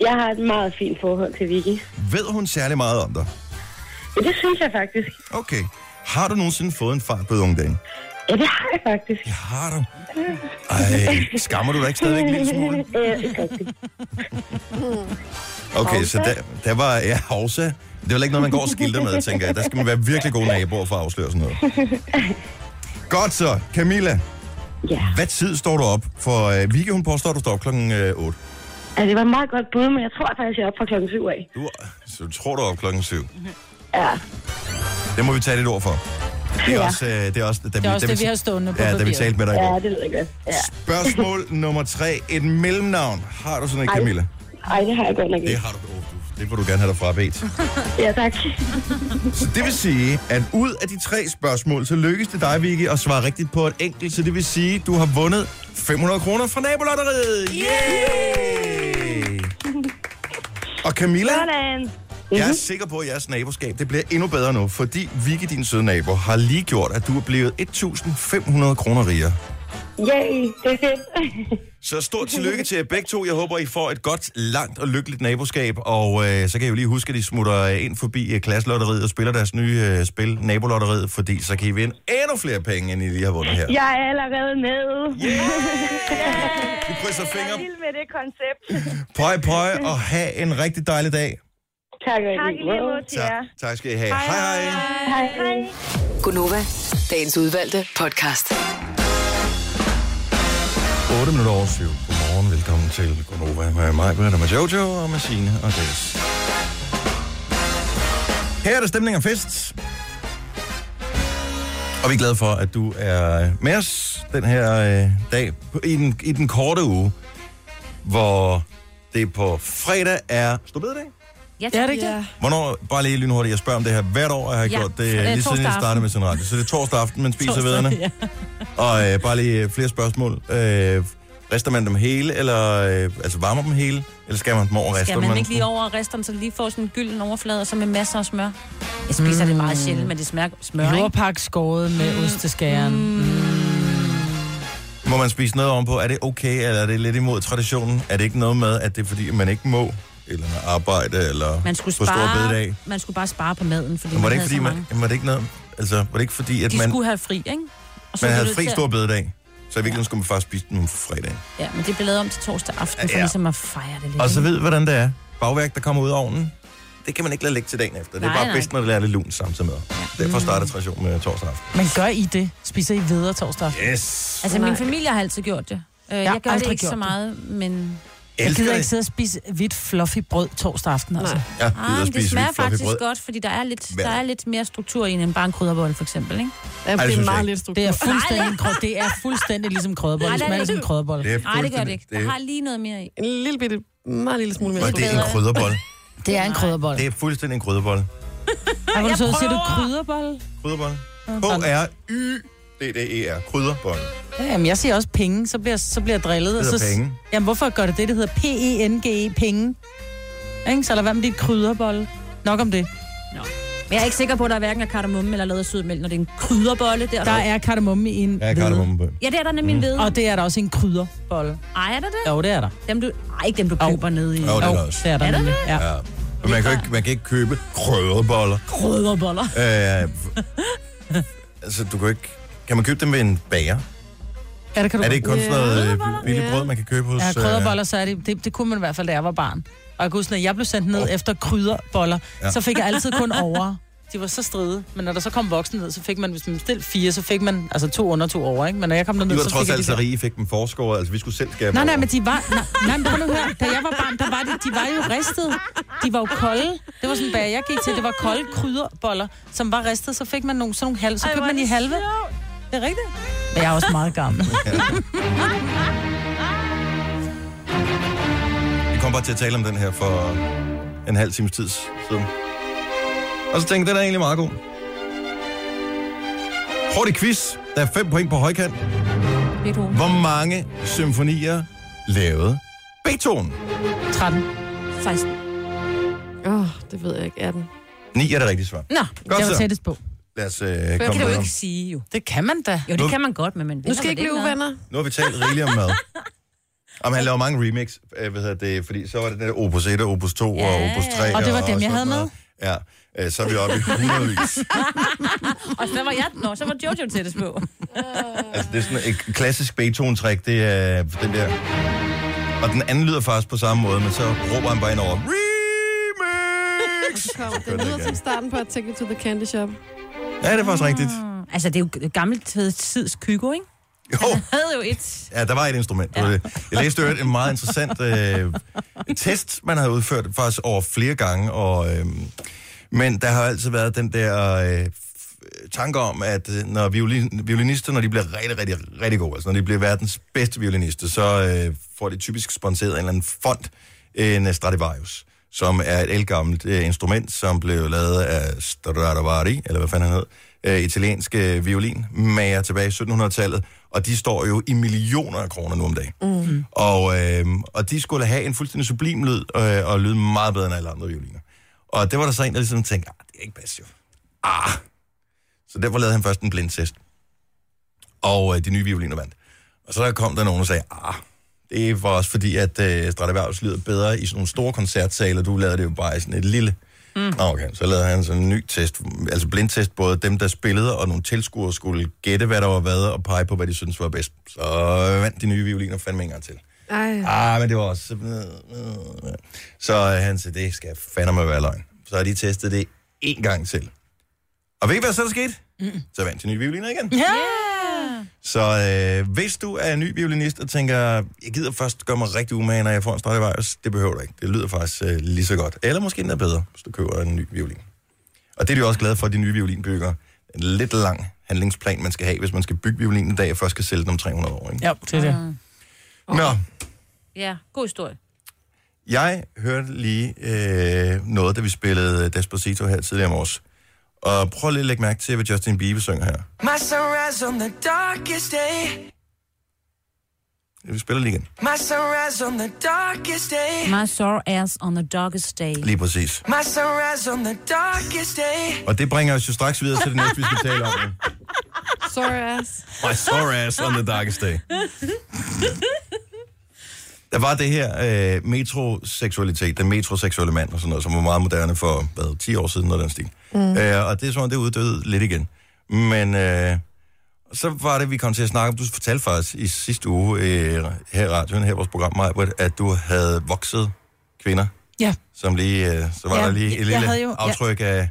Jeg har et meget fint forhold til Vicky. Ved hun særlig meget om dig? Ja, det synes jeg faktisk. Okay. Har du nogensinde fået en fartbøde unge dagen? Ja, det har jeg faktisk. Ja, har du? Ej, skammer du dig ikke stadigvæk en lille smule? Ja, det er rigtigt. Okay, så der, der var... Ja, Havsa. Det er vel ikke noget, man går og skilter med, tænker jeg. Der skal man være virkelig god naboer for at afsløre sådan noget. [LAUGHS] Godt så, Camilla. Ja. Hvad tid står du op? For øh, Vicky, hun påstår, at du står op klokken øh, 8. Altså, det var et meget godt bud, men jeg tror faktisk, jeg er oppe fra klokken syv af. Du, så du tror, du er op klokken 7. Ja. Det må vi tage dit ord for. Det er Ja. også, øh, det er også, da Det er også det, vi har stående på Ja, da vi papiret. talte med dig i Ja, går. det ved jeg godt. Ja. Spørgsmål nummer tre. Et mellemnavn. Har du sådan et, Ej. Camilla? Ej, det har jeg godt nok Det ikke. har du. Oh, du. Det vil du gerne have dig frabedt. Ja, tak. Så det vil sige, at ud af de tre spørgsmål, så lykkes det dig, Vicky, at svare rigtigt på et enkelt. Så det vil sige, at du har vundet 500 kroner fra nabolotteriet. Yay! Og Camilla, Sådan. jeg er sikker på, at jeres naboskab det bliver endnu bedre nu, fordi Vicky, din søde nabo, har lige gjort, at du er blevet 1.500 kroner rigere. Yay, det er fedt. Så stort tillykke til jer begge to. Jeg håber, I får et godt, langt og lykkeligt naboskab. Og øh, så kan I jo lige huske, at I smutter øh, ind forbi øh, klasselotteriet og spiller deres nye øh, spil, Nabolotteriet, fordi så kan I vinde endnu flere penge, end I lige har vundet her. Jeg er allerede med. Yeah! Vi krydser Jeg er fingre. vild med det koncept. Pøj, pøj, og have en rigtig dejlig dag. Tak, og Tak i lige måde til jer. Tak, tak skal I have. Hej, hej. hej. Hej. Gunova, dagens udvalgte podcast. 8 minutter over 7. Godmorgen, velkommen til Gonova med mig, Britta, med Jojo og med Signe og Dennis. Her er der stemning og fest. Og vi er glade for, at du er med os den her øh, dag på- i den, i den korte uge, hvor det på fredag er... Står dag? Ja, Er det ikke Ja. det? Hvornår, bare lige lynhurtigt, jeg spørger om det her hvert år, og jeg har Ja, ja, gjort det øh, lige siden torsdag jeg startede aften. med sin radio. Så det er torsdag aften, man spiser Torsdag, vederne. ja. Og øh, bare lige øh, flere spørgsmål. Øh, rister man dem hele, eller øh, altså varmer dem hele, eller skal man dem over rister Skal man dem? ikke lige over resterne, så det lige får sådan en gylden overflade, og så med masser af smør? Jeg spiser mm. det meget sjældent, men det smager smør, ikke? Jordpak skåret med osteskæren. Hmm. Må man spise noget ovenpå? Er det okay, eller er det lidt imod traditionen? Er det ikke noget med, at det er fordi, man ikke må, eller arbejde, eller Man skulle, på store spare, bededag? man skulle bare spare på maden, fordi Men var man det ikke havde fordi, så mange. man, var det ikke noget, altså, var det ikke fordi, at De man, skulle have fri, ikke? Og man blev havde det fri til- store bededag? Så i virkeligheden skulle man faktisk spise dem fredag. Ja, men det blev lavet om til torsdag aften, for Ja. ja. ligesom at fejre det lidt. Og så ikke? ved, hvordan det er. Bagværk, der kommer ud af ovnen, det kan man ikke lade ligge til dagen efter. Det er Nej, bare nej. bedst, når det er lidt lunt samtidig med. Derfor starter traditionen med torsdag aften. Men gør I det? Spiser I videre torsdag? aften? Yes! Altså, min Nej. familie har altid gjort det. Øh, Jeg, har jeg gør det aldrig ikke gjort så det. meget, men... Jeg Elsker gider ikke det. sidde og spise hvidt fluffy brød torsdag aften. Altså. Nej. Jeg Ah, gider men det spise smager hvidt fluffy faktisk brød. godt, fordi der er, lidt, Hvad? der er lidt mere struktur i en end bare en krydderbolle, for eksempel, ikke? Ja, det, synes er jeg meget ikke. lidt struktur. Det er fuldstændig, en krø- det er fuldstændig ligesom krødebolle. Ej, Det der er smager lidt- ligesom krødebolle. er Nej, det gør det ikke. Der har fuldstændig- lige noget mere i. En lille bitte, meget lille smule mere det, og det er en bedre. [LAUGHS] krydderbold. Det er en krødebolle. Det er fuldstændig en krydderbold. [LAUGHS] Ej, hvor du så siger du krydderbolle? Krydderbold. H-R-Y-D-D-E-R. Krydderbold. Ja, jamen, jeg siger også penge, så bliver, så bliver jeg drillet. Det og hedder så, penge. Jamen, hvorfor gør det det? Det hedder E P-E-N-G-E, penge. Ikke? Så lad være med dit krydderbolle. Nok om det. Men jeg er ikke sikker på, at der hverken er kardemomme eller lavet af sødmælk, når det er en krydderbolle. Der, Der er kardemomme i en Ja, hvede. kardemomme på. Ja, det er der nemlig Mm. en ved. Og det er der også i en krydderbolle. Ej, er der det? Jo, det er der. Dem du... Ej, ikke dem, du køber nede i. Jo, det er Jo, der også. det er der Er der nemlig. Ja. Ja. Men man kan, jo ikke, man kan ikke købe krydderboller. Krydderboller. Øh, altså, du kan ikke... Kan man købe dem ved en bager? Ja, det kan du Er det godt. ikke kun sådan noget øh, billigt Ja. brød, man kan købe hos... Ja, øh, krydderboller, så er det, det, det kunne man i hvert fald, da jeg var barn. Og jeg kan huske, når jeg blev sendt ned efter krydderboller, Ja. ja. så fik jeg altid kun over. De var så stride, men når der så kom voksne ned, så fik man, hvis man bestilte fire, så fik man altså to under to over, ikke? Men når jeg kom I derned, var så fik trods jeg alt så rige, I fik dem forskåret. Altså, vi skulle selv skære dem Nej, nej, over. men de var... Nej, nej men prøv nu at høre. Da jeg var barn, der var de, de var jo ristet. De var jo kolde. Det var sådan, hvad jeg gik til. Det var kolde krydderboller, som var ristet. Så fik man nogle, sådan nogle halve. Så Ej, købte hvor er man i det halve. Det er rigtigt. Men jeg er også meget gammel. Vi kom bare til at tale om den her for en halv times tid siden. Og så tænkte jeg, den er egentlig meget god. Hurtig quiz. Der er fem point på højkant. Beethoven. Hvor mange symfonier lavede Beethoven? 13. 16. Åh, oh, det ved jeg ikke. 18. Ni er det rigtige svar. Nå, Godt jeg så. var tættest på. Lad os øh, Det komme kan du jo videre. ikke sige, jo. Det kan man da. Jo, det Nu- kan man godt, men man Nu skal I ikke blive uvenner. Nu har vi talt rigeligt [LAUGHS] om mad. Om han laver mange remix, øh, hvad hedder det, fordi så var det den der Opus 1 og Opus 2 ja, og Opus 3. Og det var dem, jeg sådan havde med. noget. Ja, øh, så er vi oppe i hundredvis. [LAUGHS] og så var jeg... Nå, så var Jojo tættest på. Altså, det er sådan et klassisk Beethoven-træk, det er den der. Og den anden lyder faktisk på samme måde, men så råber han bare ind over. Remix! [LAUGHS] Kom, det lyder som starten på at Take Me to the Candy Shop. Ja, det er faktisk rigtigt. Altså, det er jo gammelt tids Kygo, ikke? Altså, Jo. Han havde jo et... Ja, der var et instrument. Ja. Jeg læste jo en meget interessant øh, test, man havde udført faktisk over flere gange. Og, øh, men der har altid været den der øh, f- tanke om, at øh, når violin, violinister, når de bliver rigtig, rigtig, rigtig gode, altså når de bliver verdens bedste violinister, så øh, får de typisk sponsoreret af en eller anden fond, en øh, Stradivarius som er et elgammelt øh, instrument, som blev lavet af Stradivari, eller hvad fanden han hed, øh, italienske violinmager tilbage i 1700-tallet, og de står jo i millioner af kroner nu om dagen. Mm. Og, øh, og de skulle have en fuldstændig sublim lyd, øh, og lyde meget bedre end alle andre violiner. Og det var der så en, der ligesom tænkte, ah, det er ikke pas jo. Ah. Så derfor lavede han først en blindtest. Og øh, de nye violiner vandt. Og så kom der nogen og sagde, ah, det var også fordi, at øh, Stradivarius lyder bedre i sådan nogle store koncertsaler. Du lavede det jo bare i sådan et lille. Mm. Okay, så lavede han sådan en ny test, altså blindtest, både dem, der spillede, og nogle tilskuere skulle gætte, hvad der var hvad, og pege på, hvad de synes var bedst. Så vandt de nye violiner fandme en gang til. Ej. Ah, men det var også... Så øh, han sagde, det skal fandme være løgn. Så har de testet det en gang til. Og ved I, hvad så der skete? Mm. Så vandt de nye violiner igen. Yeah. Så øh, hvis du er en ny violinist og tænker, jeg gider først gøre mig rigtig umage, når jeg får en Stradivarius, det behøver du ikke. Det lyder faktisk øh, lige så godt. Eller måske endda bedre, hvis du køber en ny violin. Og det er de jo også glade for, de nye violinbyggere. En lidt lang handlingsplan, man skal have, hvis man skal bygge violinen en dag, og først skal sælge den om 300 år. Ikke? Ja, det er det. Nå, Ja, god historie. jeg hørte lige øh, noget, da vi spillede øh, Despacito her tidligere om års. Og prøv lige at lægge mærke til, hvad Justin Bieber synger her. My sunrise on the darkest day. Vi spiller lige igen. My sunrise on the darkest day. My sore ass on the darkest day. Lige præcis. My sunrise on the darkest day. Og det bringer os jo straks videre til det næste, vi skal tale om. Sorry ass. My sore ass on the darkest day. Der var det her øh, metroseksualitet, den metroseksuelle mand og sådan noget, som var meget moderne for, hvad, 10 år siden, noget af den stil. Mm. Øh, og det er sådan, det uddøde lidt igen. Men øh, så var det, vi kom til at snakke om, du fortalte faktisk i sidste uge øh, her i radioen, her i vores program, Maja, at du havde vokset kvinder, Ja. som lige, øh, så var Ja, der lige jeg et lille havde jo- ja. aftryk af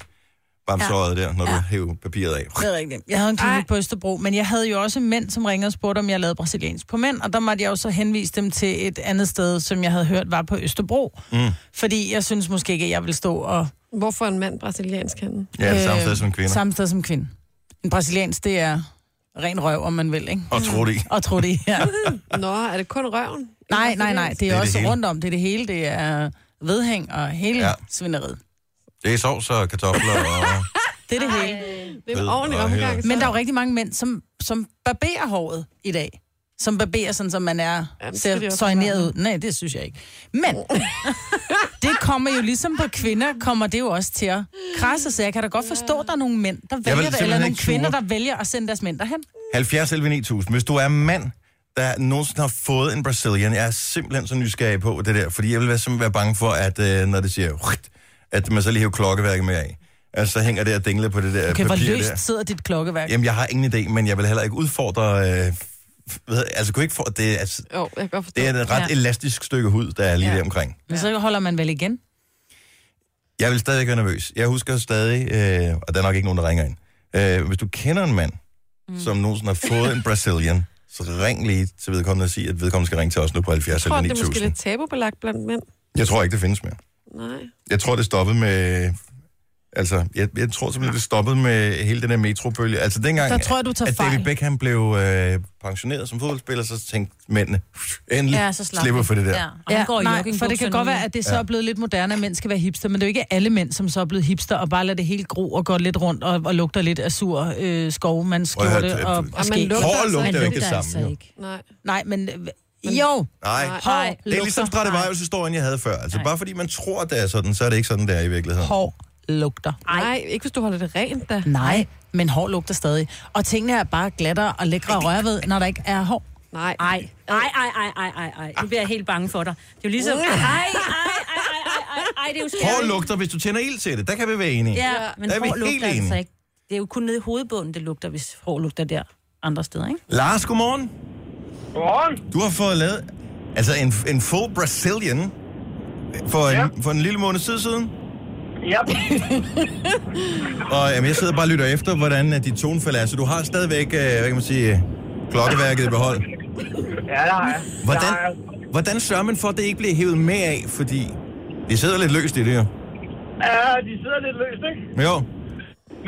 bamsåret der, når du hævde papiret af. Det er rigtigt. Jeg havde en klinik på Østerbro, men jeg havde jo også mænd, som ringede og spurgte, om jeg lavede brasiliansk på mænd, og der måtte jeg jo så henvise dem til et andet sted, som jeg havde hørt var på Østerbro. Mm. Fordi jeg synes måske ikke, at jeg vil stå og... Hvorfor en mand brasiliansk hende? Ja, det samme sted som kvinder. Samme sted som kvinde. En brasiliansk, det er ren røv, om man vil, ikke? Og tro det i. Og tro det, ja. [LAUGHS] Nå, er det kun røven? Nej, nej, nej. Det er, Det er det også hele. rundt om. Det er det hele. Det er vedhæng og hele Ja. ja. svineriet. Det er sovs og kartofler og... Det er det hele. Det er en ordentlig Ved og omgang, heller. så. Men der er jo rigtig mange mænd, som, som barberer håret i dag. Som barberer sådan, som man er Jamen, det skal de ser også soigneret gøre. ud. Nej, det synes jeg ikke. Men [LAUGHS] det kommer jo ligesom på kvinder, kommer det jo også til at krasse. Så jeg kan da godt forstå, at der er nogle mænd, der vil vælger det, eller simpelthen nogle ikke ture. kvinder, der vælger at sende deres mænd derhen. 70 11 9000. Hvis du er mand, der nogensinde har fået en Brazilian, jeg er simpelthen så nysgerrig på det der, fordi jeg vil være, simpelthen være bange for, at øh, når det siger, "Huit", at man så lige hæver klokkeværket med af. Altså, så hænger det og dingler på det der Okay, hvor papir løst der. sidder dit klokkeværk. Jamen, jeg har ingen idé, men jeg vil heller ikke udfordre øh, ved, altså kunne ikke få, det, er- altså, Jo, jeg kan godt forstå. det er et ret ja. elastisk stykke hud, der er lige ja. der omkring. Men så holder man vel igen? Jeg vil stadigvæk være nervøs. Jeg husker stadig, øh, og der er nok ikke nogen, der ringer ind. Øh, hvis du kender en mand, mm. som nogensinde har fået en Brazilian, så ring lige til vedkommende og sig, at vedkommende skal ringe til os nu på 70 Jeg tror, eller det er måske 9000. lidt tabubelagt blandt mænd. Jeg tror ikke, det findes mere. Nej. Jeg tror, det stoppede med... Altså, jeg, jeg tror simpelthen, det stoppede med hele den her metrobølge. Altså, dengang, Der tror jeg, du tager at David fejl. Beckham blev øh, pensioneret som fodboldspiller, så tænkte mændene, "Pff, endelig ja, så slap slipper han." for det der. Ja. Ja. Og ja, går i nej, for joggingbukser det kan nu, godt ikke? være, at det så Ja. er blevet lidt moderne, at mænd skal være hipster, men det er jo ikke alle mænd, som så er blevet hipster og bare lader det hele gro og går lidt rundt og, og lugter lidt af sur øh, skov, man Prøv at høre, skjorte det- og, og, Hår skæg. lugter jo ikke det samme, jo. Nej. Nej, men... øh, Jo. Nej, Hår det er ligesom lugter. Stradivarius-historien, jeg havde før. Altså, bare fordi man tror, det er sådan, så er det ikke sådan, det er i virkeligheden. Hår lugter. Nej, ikke hvis du holder det rent, da. Nej, men hår lugter stadig. Og tingene er bare glattere og lækre at røre ved, når der ikke er hår. Nej. Ej, ej, ej, ej, ej, ej, ej. Nu bliver jeg helt bange for dig. Det er jo ligesom... Mm. Ej, ej, ej, ej, ej, ej, ej, det er jo Hår skærligt. lugter, hvis du tænder ild til det. Der kan vi være enige. Ja, men der er vi hår helt lugter enige. altså ikke. Det er jo kun nede i hovedbunden, det lugter, hvis hår lugter der andre steder, ikke? Lars, godmorgen. Godmorgen. Du har fået lavet altså en, en full Brazilian for, ja. en, for en lille måned tid siden. Ja. Og jamen, jeg sidder bare og lytter efter, hvordan øh, dit tonefald er. Så du har stadigvæk, øh, hvad kan man sige, øh, klokkeværket i behold. ja, det har jeg. Hvordan, Det har jeg. hvordan sørger man for, at det ikke bliver hævet med af? Fordi det sidder lidt løst i det her. Ja, de sidder lidt løst, ikke? Jo.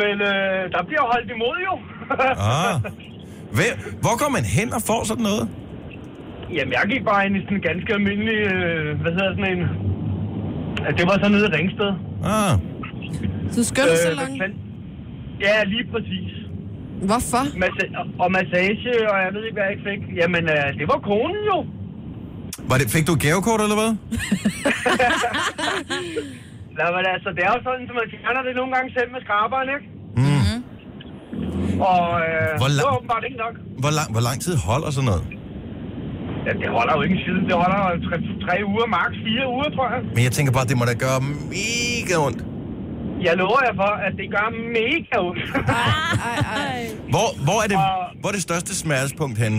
Men øh, der bliver holdt imod jo. [LAUGHS] Ah. Hvem, hvor går man hen og får sådan noget? Jamen, jeg gik bare ind i sådan en ganske almindelig, øh, hvad hedder sådan en... Ja, det var så nede i Ringsted. Ah. Så skøn salon? Ja, lige præcis. Hvorfor? Massa- og massage, og jeg ved ikke, hvad jeg ikke fik. Jamen, øh, det var konen [LAUGHS] jo. Var det, fik du et gavekort eller hvad? Nå, men altså, det er jo sådan, at man fjerner det nogle gange selv med skraberen, ikke? Mhm. Mm. Og øh, Hvor det lang- var åbenbart ikke nok. Hvor lang, hvor lang tid holder sådan noget? Ja, det holder jo ikke en side. Det holder jo tre, tre uger, max. fire uger, tror jeg. Men jeg tænker bare, det må da gøre mega ondt. Jeg lover jer for, at det gør mega ondt. Hvor, hvor, er det, hvor er det største smertespunkt henne?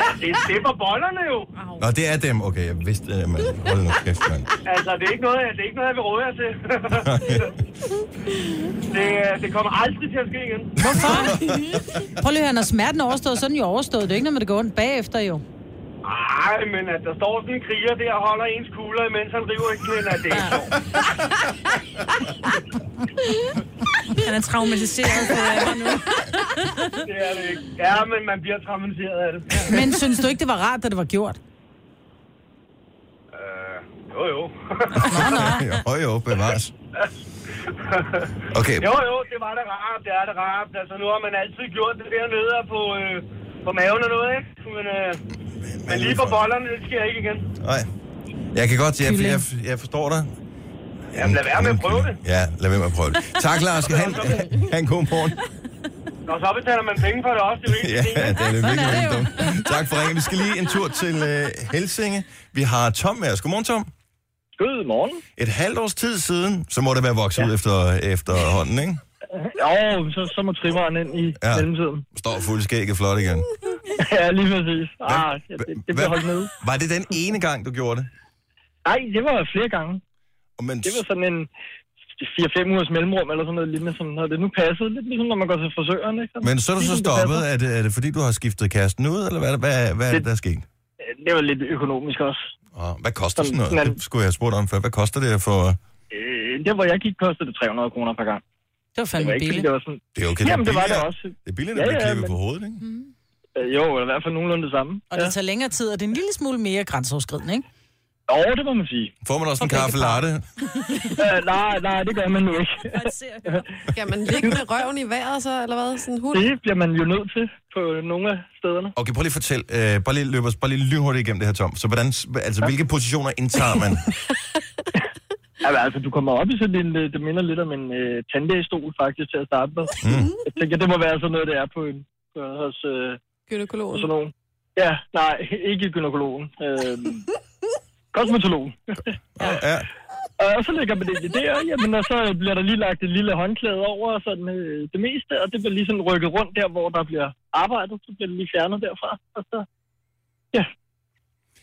ja, det, det er for bollerne jo. Nå, det er dem. Okay, jeg vidste øh, det, mand. Hold nu kæft, mand. Altså, det er ikke noget, det er ikke noget jeg vil råde jer til. [LAUGHS] det, det kommer aldrig til at ske igen. Hvorfor? Prøv lige at høre, når smerten er overstået, så er den jo overstået. Det er jo ikke noget, man går ondt bagefter, jo. Nej, men at der står sådan en kriger der og holder ens kugler, mens han river en knæ, at det er ikke sjovt. Han er traumatiseret på ærmer nu. Det er det ikke. Ja, men man bliver traumatiseret af det. Men synes du ikke, det var rart, da det var gjort? Øh, jo, jo. Jo, [LAUGHS] jo, bevares. Okay. Jo, jo, det var det rart, det er det rart. Altså, nu har man altid gjort det dernede og på, øh, på maven og noget, ikke? Men, øh, men lige på bollerne, det sker ikke igen. Nej. Jeg kan godt sige, jeg, jeg, jeg forstår dig. Jamen, lad være med at prøve det. Ja, lad være med at prøve [LAUGHS] det. Tak, Lars. Ha' en, ha' en god morgen. Når så betaler man penge for det også, det er jo ikke Ja, det er lidt virkelig lidt dumt. Tak for ringen. Vi skal lige en tur til øh, Helsinge. Vi har Tom med os. Godmorgen, Tom. Godmorgen. Et halvt års tid siden, så må det være vokset ja. ud efter, efter hånden, ikke? Jo, så, så må trimmeren ind i Ja. ja. mellemtiden. Står fuld skægget flot igen. Ja, lige præcis. Ah, det, det bliver holdt nede. Var det den ene gang, du gjorde det? Nej, det var flere gange. Men... Det var sådan en 4-5 ugers mellemrum eller sådan noget lignende, som når det nu passede. Lidt ligesom når man går til frisøren, ikke? Sådan, Men så er du så ligesom det stoppet. passer. Er det, er det fordi, du har skiftet kæresten ud, eller hvad, hvad, hvad er det, der er sket? Øh, Det var lidt økonomisk også. Og hvad koster sådan Sådan, noget? man- Det skulle jeg have spurgt om før. Hvad koster det for... Øh, der hvor jeg gik, kostede det 300 kroner per gang. Det var fandme det var ikke, fordi billigt. Det var sådan... Det er okay, det er Jamen, det var det billigere. også. Det er billigt, at blive klippet på hovedet, ikke? Øh, Jo, eller i hvert fald nogenlunde det samme. Mhm. Og det tager længere tid, og det er en lille smule mere grænseoverskridende, ikke? Jo, det må man sige. Får man også en For begge kaffe latte? [LAUGHS] øh, nej, nej, det gør man nu ikke. Skal man ligge med røven i vejret så, eller hvad? Sådan en hund? Det bliver man jo nødt til på nogle af stederne. Okay, prøv lige at fortæl. Øh, bare lige løb os bare lige lynhurtigt igennem det her, Tom. Så hvordan, altså, hvilke positioner indtager man? Jamen, altså, du kommer op i sådan en, øh, det minder lidt om en øh, tandlægestol faktisk til at starte med. Mm. Jeg tænker, det må være sådan noget, det er på en, på, hos, øh, Gynækologen. hos sådan nogen. Ja, Øhm, nej, ikke gynekologen. Øh, kosmetologen. ja. Og så lægger man det i der, jamen, og så bliver der lige lagt et lille håndklæde over og sådan, øh, det meste, og det bliver lige sådan rykket rundt der, hvor der bliver arbejdet, så bliver det lige fjernet derfra, og så, ja,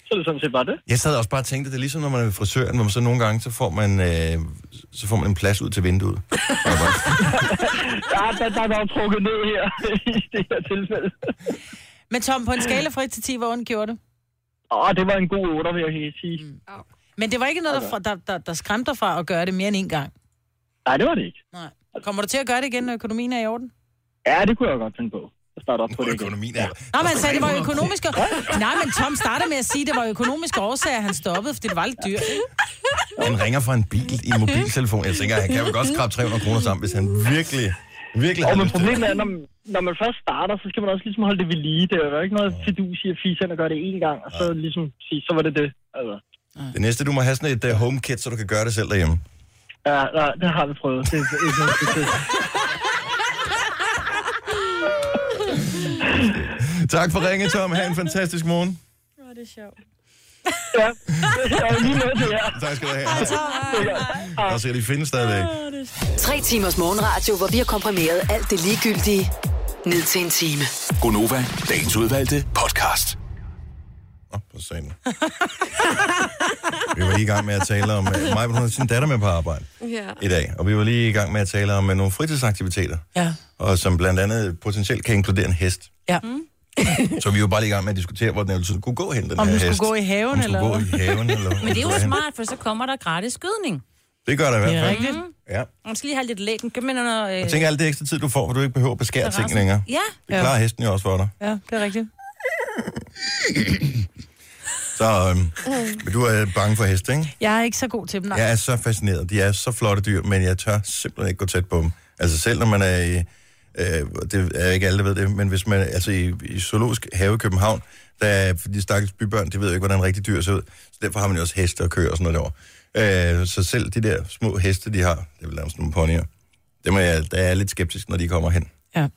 så er det sådan set bare det. Jeg sad også bare og tænkte, det er ligesom når man er ved frisøren, hvor man så nogle gange, så får man, øh, så får man en plads ud til vinduet. Ja, [LAUGHS] der, der er dog trukket ned her [LAUGHS] i det her tilfælde. Men Tom, på en skala fra 1 til 10, hvor ondt gjorde det? Åh, det var en god 8, vil jeg helt sige. Altså. Mm. Men det var ikke noget, der, fra- der, der, der skræmte dig fra at gøre det mere end en gang? Nej, det var det ikke. Nej. Kommer du til at gøre det igen, når økonomien er i orden? Ja, det kunne jeg godt tænke på. At starte op på det igen. Økonomien er... Nej, men han sagde, det [LAUGHS] var økonomiske... Nej, men Tom starter med at sige, at det var økonomiske årsager, han stoppede, fordi det var lidt dyrt. Han ringer fra en bil i en mobiltelefon. Jeg tænker, han kan vel godt skrabe 300 kroner sammen, hvis han virkelig, virkelig Og har men lyst til det. problemet er, når, når man først starter, så skal man også ligesom holde det ved lige. Det er jo ikke noget fidus i at fise og gøre det én gang, og så ligesom sige, så var det det. Altså, Det næste, du må have sådan et uh, home kit, så du kan gøre det selv derhjemme. ja, nej, det har vi prøvet. Det, er ikke noget succes. Tak for ringe, Tom. Ha' en fantastisk morgen. Åh, det er sjovt. ja, jeg er lige med til jer. Tak skal du have. Hej. Og så de findes stadigvæk. Tre timers morgenradio, hvor vi har komprimeret alt det ligegyldige ned til en time. Gonova, dagens udvalgte podcast. For satan. Vi var lige i gang med at tale om... øh, Maja, hun har sin datter med på arbejde Ja. i dag, og vi var lige i gang med at tale om øh, nogle fritidsaktiviteter, Ja. og som blandt andet potentielt kan inkludere en [LAUGHS] hest. Ja. Mm. Så vi var bare lige i gang med at diskutere, hvor den eventuelt kunne gå hen, den Om her du skulle hest. gå i haven, Om den skulle eller gå i haven, [LAUGHS] eller hvor Men det er den jo skulle hen. smart, for så kommer der gratis skydning. Det gør der i hvert Det fald. er rigtigt. Ja. Man skal lige have lidt lægen. Gør man under... Øh, Jeg tænker, alt det ekstra tid, du får, hvor du ikke behøver at beskære ting terrassen. længere. Ja. Det klarer hesten jo også for [COUGHS] dig. Ja, det er rigtigt. Så øhm, men du er bange for heste, ikke? Jeg er ikke så god til dem, nej. Jeg er så fascineret. De er så flotte dyr, men jeg tør simpelthen ikke gå tæt på dem. Altså selv når man er i... Øh, det er ikke alle, der ved det, men hvis man... Altså i, i Zoologisk Have i København, der er de stakkels bybørn, de ved jo ikke, hvordan rigtig dyr ser ud. Så derfor har man jo også heste og køer og sådan noget derovre. Øh, så selv de der små heste, de har, det er vel nærmest nogle ponyer, dem er jeg, der er jeg lidt skeptisk, når de kommer hen. Ja.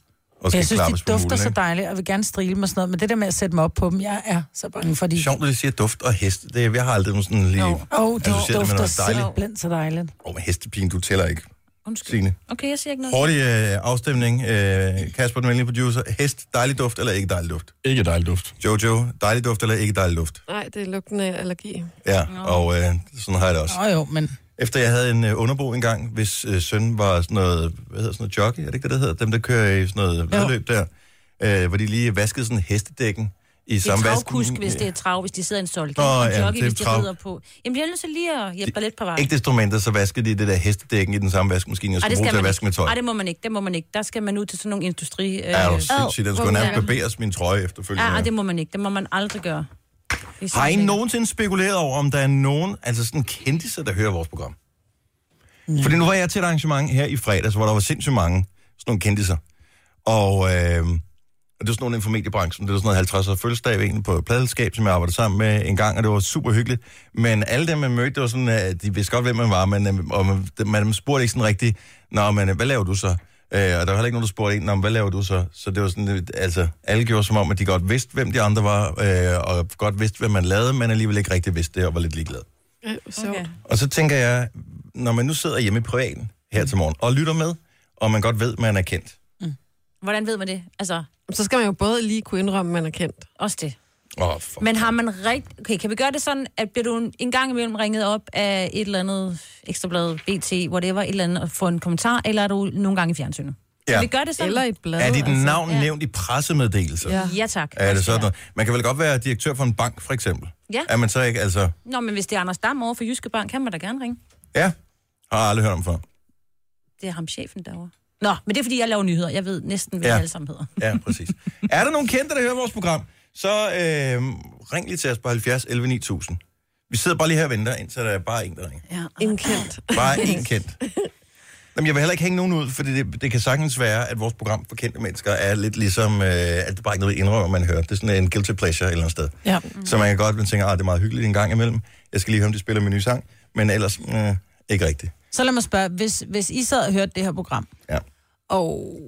Og skal jeg synes, de klappes på dufter mulen, så ikke? dejligt, og vil gerne strile mig og sådan noget, men det der med at sætte mig op på dem, jeg er så bange for de... Sjovt, når de siger duft og hest. Det, er- jeg har aldrig nogen sådan lige... Åh, oh, de associeret det med dufter noget dejligt. simpelthen så dejligt. Åh, oh, hestepin, du tæller ikke. Undskyld. Signe. Okay, jeg siger ikke noget. Hurtig øh, afstemning. Øh, Kasper, den venlige producer. Hest, dejlig duft eller ikke dejlig duft? Ikke dejlig duft. Jojo, dejlig duft eller ikke dejlig duft? Nej, det er lugten af allergi. Ja, og øh, sådan har jeg det også. Åh oh, jo, men... Efter jeg havde en øh, underbo engang, hvis øh, søn var sådan noget, hvad hedder sådan noget jockey, er det ikke det, det hedder? Dem, der kører i sådan noget vedløb der, øh, hvor de lige vaskede sådan hestedækken i det er samme vask. travkusk, hvis det er trav, hvis de sidder i en solgæld. Nå, Og ja, jockey, det er hvis de trav. rider på. Jamen, jeg er nødt til lige at hjælpe dig lidt på vej. Ikke desto mindre, så vaskede de det der hestedækken i den samme vaskemaskine, jeg Ej, skulle bruge til at vaske ikke. med tøj. Ej, det må man ikke. Det må man ikke. Der skal man ud til sådan nogle industri... Øh, Er du sindssygt? Den skulle hvor- nærmest barberes min trøje efterfølgende. Ja, ej, det må man ikke. Det må man aldrig gøre. Det er Har I sindssygt. nogensinde spekuleret over, om der er nogen, altså sådan kendtiser, der hører vores program? Mm. Fordi nu var jeg til et arrangement her i fredags, hvor der var sindssygt mange sådan nogle kendtiser. Og øh, og det var sådan nogle inden for mediebranchen. Det var sådan noget 50 års fødselsdag ved en på et pladelskab, som jeg arbejdede sammen med en gang, og det var super hyggeligt. Men alle dem, man mødte, det var sådan, at de vidste godt, hvem man var, men øh, og man, man spurgte ikke sådan rigtigt, Nå, men øh, hvad laver du så? Øh, og der var heller ikke nogen, der spurgte en, "Nå, men hvad laver du så? Så det var sådan, øh, altså, alle gjorde som om, at de godt vidste, hvem de andre var, øh, og godt vidste, hvad man lavede, men alligevel ikke rigtig vidste det, og var lidt ligeglade. Ja, Øh, sjovt. Okay. Og så tænker jeg, når man nu sidder hjemme i privaten her til morgen og lytter med, og man godt ved, man er kendt. Hvordan ved man det? Altså... Så skal man jo både lige kunne indrømme, man er kendt. Også det. Åh, oh, Men har man rigtig... Okay, kan vi gøre det sådan, at bliver du en- en gang imellem ringet op af et eller andet ekstrablad, BT, whatever, et eller andet, og få en kommentar, eller er du nogle gange i fjernsynet? Ja. Kan vi gøre det sådan? Eller et blad. altså. er dit navn nævnt i pressemeddelelser? Ja. ja, tak. Er det sådan noget? Man kan vel godt være direktør for en bank, for eksempel. Ja. Er man så ikke, altså... Nå, men hvis det er Anders Dam over for Jyske Bank, kan man da gerne ringe. Ja, har jeg aldrig hørt om før. Det er ham chefen derovre. Nå, men det er fordi, jeg laver nyheder. Jeg ved næsten, hvad Ja. ja. alle sammen hedder. Ja, præcis. er der nogen kendte, der hører vores program, så øh, ring lige til os på 70 11 9000. Vi sidder bare lige her og venter, indtil der er bare en, der ringer. Ja. En kendt. [LAUGHS] Bare en kendt. Jamen, jeg vil heller ikke hænge nogen ud, fordi det, det kan sagtens være, at vores program for kendte mennesker er lidt ligesom, øh, at det bare ikke er noget, vi indrømmer, man hører. Det er sådan en guilty pleasure et eller andet sted. Ja. Mm. Så man kan godt man tænker, at det er meget hyggeligt en gang imellem. Jeg skal lige høre, om de spiller min nye sang. Men ellers, øh, ikke rigtigt. Så lad mig spørge, hvis, hvis I sad og hørte det her program, Ja. og,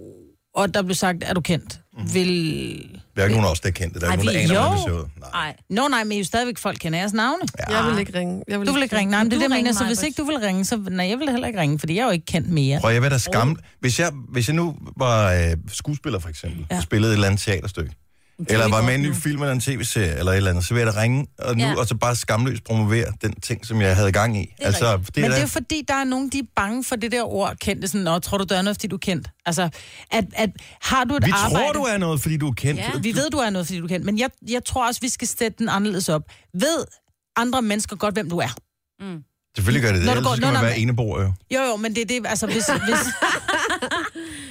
og der blev sagt, er du kendt? mm. vil... Der er ikke nogen af os, der er kendte. Der er Ej, ikke nogen, vi- der aner, hvordan jo. det ser ud. Nej. Nå, nej, men I er jo stadigvæk folk kender jeres navne. Ja. Jeg vil ikke ringe. Jeg vil du vil ikke ringe. Nej, men det Du er det, jeg ringer mener. Så mig, hvis Britt. ikke du vil ringe, så... Nej, jeg vil heller ikke ringe, fordi jeg er jo ikke kendt mere. Prøv at være der skam. Hvis jeg, hvis jeg nu var øh, skuespiller, for eksempel, ja. og spillede et eller andet teaterstykke, er eller vi var godt med i en ny nu. film eller en tv-serie eller et eller andet, så ville jeg da ringe og, nu, Ja. ja. og så bare skamløst promovere den ting, som jeg havde gang i. Det altså, rigtigt. Men da- det er jo fordi, der er nogen, de er bange for det der ord, kendte sådan, Nå, tror du, du er noget, fordi du er kendt? Altså, at, at har du et Vi arbejde... tror, du er noget, fordi du er kendt. Ja. Vi ved, du er noget, fordi du er kendt, men jeg, jeg tror også, vi skal sætte den anderledes op. Ved andre mennesker godt, hvem du er? Selvfølgelig gør det det, Når du ellers går- skal Nå, man nå, være men- eneboer jo. Jo, jo, men det er det, altså hvis... [LAUGHS] hvis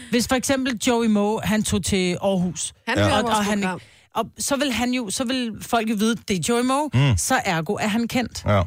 Hvis for eksempel Joey Moe, han tog til Aarhus. Han hører og, vores og, han, og så vil han jo, så vil folk jo vide, det er Joey Moe, Mm. mm. så ergo er han kendt. Ja.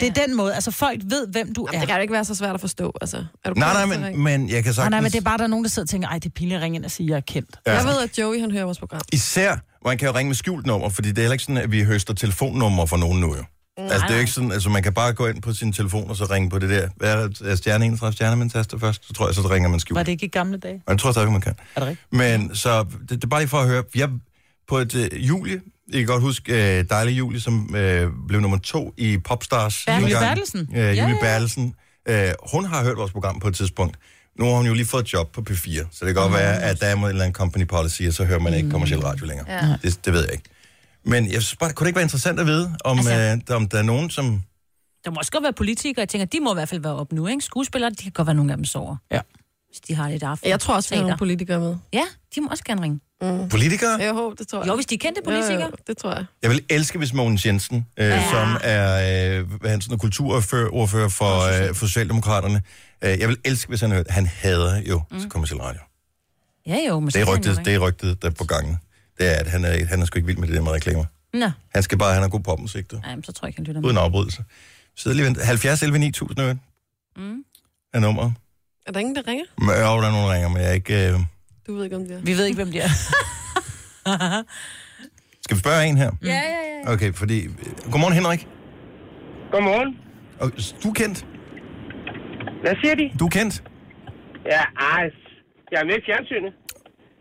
Det er den måde, altså folk ved, hvem du Jamen, er. det kan jo ikke være så svært at forstå, altså. Er du Nej, klar nej, til at ringe? men, men jeg kan Sagtens. Nej, sagtens... men det er bare, der er nogen, der sidder og tænker, ej, det er pinligt at ringe ind og sige, jeg er kendt. Ja. Jeg ved, at Joey, han hører vores program. Især, hvor man kan jo ringe med skjult nummer, fordi det er heller ikke sådan, at vi høster telefonnumre fra nogen nu jo. Nej, altså, det er jo nej. ikke sådan, altså, man kan bare gå ind på sin telefon og så ringe på det der. Hvad er det? er stjerne 31 stjerne, man taster først? Så tror jeg, så ringer man skjult. Var det ikke i gamle dage? Og jeg tror stadigvæk, man kan. Er det rigtigt? Men så, det, det er bare lige for at høre. Jeg, på et øh, Julie, jeg kan godt huske øh, dejlig Julie, som øh, blev nummer to i Popstars. Julie dengang. Bertelsen? Øh, Ja, Julie ja, ja. Bertelsen. Øh, hun har hørt vores program på et tidspunkt. Nu har hun jo lige fået job på P4, så det kan godt være, at der er mod en eller anden company policy, og så hører man Mm. ikke kommerciel radio længere. Ja. Det, det ved jeg ikke. Men jeg synes bare, kunne det ikke være interessant at vide, om, altså, Altså- øh, om der er nogen, som... Der må også godt være politikere, jeg tænker, de må i hvert fald være op nu, ikke? Skuespillere, de kan godt være, nogle af dem sover. Ja. Hvis de har lidt aften. Jeg tror også, vi har nogle politikere med. Ja, de må også gerne ringe. Mm. Politikere? Jeg håber, det tror jeg. Jo, hvis de er kendte Jo, jo, politikere. det tror jeg. Jeg vil elske, hvis Mogens Jensen, øh, ja. som er øh, hvad er han sådan, kulturordfører for, øh, for Socialdemokraterne, øh, jeg vil elske, hvis han hørte, han hader jo mm. kommersiel radio. Ja, jo, men Det er så kan rygtet, han jo det er rygtet der er på gangen. Det er, at han er, han er sgu ikke vild med det der med reklamer. ringe. Nå, Han skal bare, han har god popmusik, du. Ej, men så tror jeg ikke, han lytter med. Uden afbrydelse. Så lige vent. 70 11 9000 øh, Mm. er nummeret. Er der ingen, der ringer? Men, øh, der er nogen, der ringer, men jeg er ikke... Øh... Du ved ikke, om det er. Vi ved ikke, hvem de er. Skal vi spørge en her? [LAUGHS] ja, ja, ja. Okay, fordi... Godmorgen, Henrik. Godmorgen. Og, du er kendt? Hvad siger de? Du er kendt? [LAUGHS] Ja, ej. Jeg er med i fjernsynet.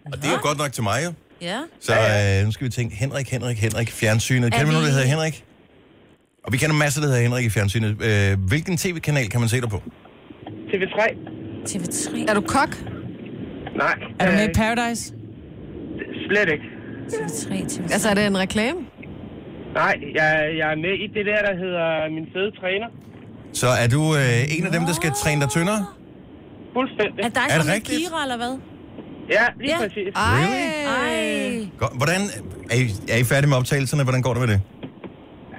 Og det er jo godt nok til mig, jo. Ja. Så øh, nu skal vi tænke, Henrik, Henrik, Henrik, fjernsynet. Er Kender vi nogen, vi- der hedder Henrik? Og vi kender masser, der hedder Henrik i fjernsynet. Øh, hvilken tv-kanal kan man se dig på? TV3. TV3. Er du kok? Nej. Øh, Er du med i Paradise? Slet ikke. TV3, TV3. Altså, er det en reklame? Nej, jeg, jeg er med i det der, der hedder Min Fede Træner. Så er du øh, en af dem, der skal træne dig tyndere? Fuldstændig. Er dig Er det sammen med rigtigt? Kira, eller hvad? Ja, lige ja. præcis. Ej. Ej. Godt. Hvordan, er I, er I færdige med optagelserne? Hvordan går det med det?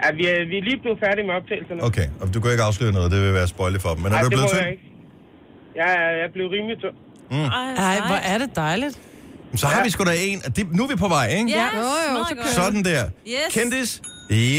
Ja, vi, er, vi er lige blevet færdige med optagelserne. Okay, og du kan ikke afsløre noget, det vil være spoiler for dem. Men er Ej, du det blevet må jeg tynd? ikke. Jeg, er- jeg blev rimelig tynd. Mm. Ej, hvor er det dejligt. Så har vi sgu da en. og Det, nu er vi på vej, ikke? Ja, Jo, jo, meget så godt. kører Sådan vi. der. Yes. Kendis?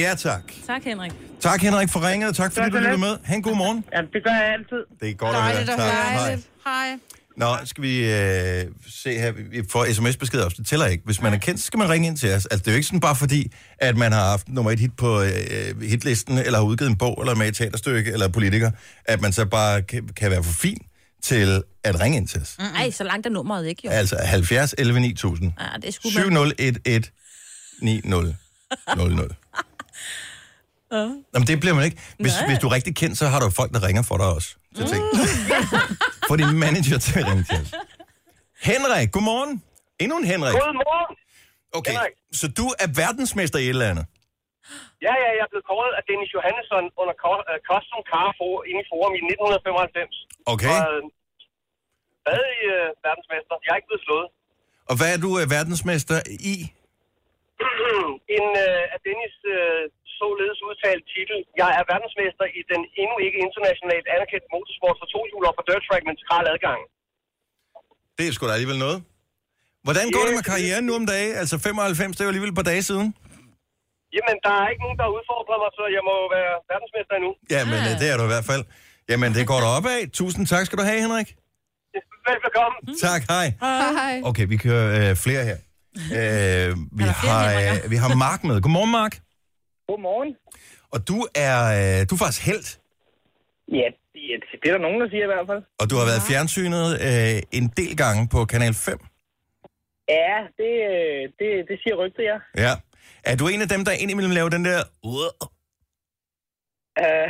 Ja, tak. Tak, Henrik. Tak, Henrik, for ringet, og tak fordi Tak du så lyttede lidt. med. Ha' en god morgen. Ja, det gør jeg altid. Det er godt at høre. Tak. Hej. Hej. Nå, skal vi øh, se her. Vi får sms-beskeder også. Det tæller ikke. Hvis man er kendt, så skal man ringe ind til os. Altså, det er jo ikke sådan bare fordi, at man har haft nummer et hit på øh, hitlisten, eller har udgivet en bog, eller er med i et teaterstykke, eller er politiker, at man så bare kan, kan være for fin til at ringe ind til os. Mm. Ej, så langt er nummeret ikke, jo. Altså 70 11 9000. Ja, det skulle man. 7011 9000. Ja. Jamen, det bliver man ikke. Hvis, Nej. hvis du er rigtig kendt, så har du folk, der ringer for dig også. Så tænk. Få din manager til at ringe til os. Henrik, godmorgen. Endnu en Henrik. Godmorgen. Okay, så du er verdensmester i et eller andet. Ja, ja, jeg er blevet kåret af Dennis Johannesson under Ko- øh, Custom Car for, inde i Forum i 1995. Okay. Og, øh, stadig øh, verdensmester. Jeg er ikke blevet slået. Og hvad er du øh, verdensmester i? [CLEARS THROAT] en øh, af Dennis øh, således udtalt titel. Jeg er verdensmester i den endnu ikke internationalt anerkendte motorsport for to hjul og for dirt track med skral adgang. Det er sgu da alligevel noget. Hvordan går det med karrieren nu om dagen? Altså 95, det er jo alligevel et par dage siden. Jamen, der er ikke nogen, der udfordrer mig, så jeg må jo være verdensmester endnu. Jamen, øh, det er du i hvert fald. Jamen, det går der opad. Tusind tak skal du have, Henrik. Velbekomme. Tak, hej. Hej. Okay, vi kører øh, flere her. Øh, vi, har, øh, vi har Mark med. Godmorgen, Mark. Godmorgen. Og du er, øh, du er faktisk helt, Ja, det, det er der nogen, der siger i hvert fald. og du har været fjernsynet øh, en del gange på Kanal 5. Ja, det, øh, det, det siger rygtet, ja. [LAUGHS] Ja. Er du en af dem, der indimellem laver den der... "Uah"? Øh,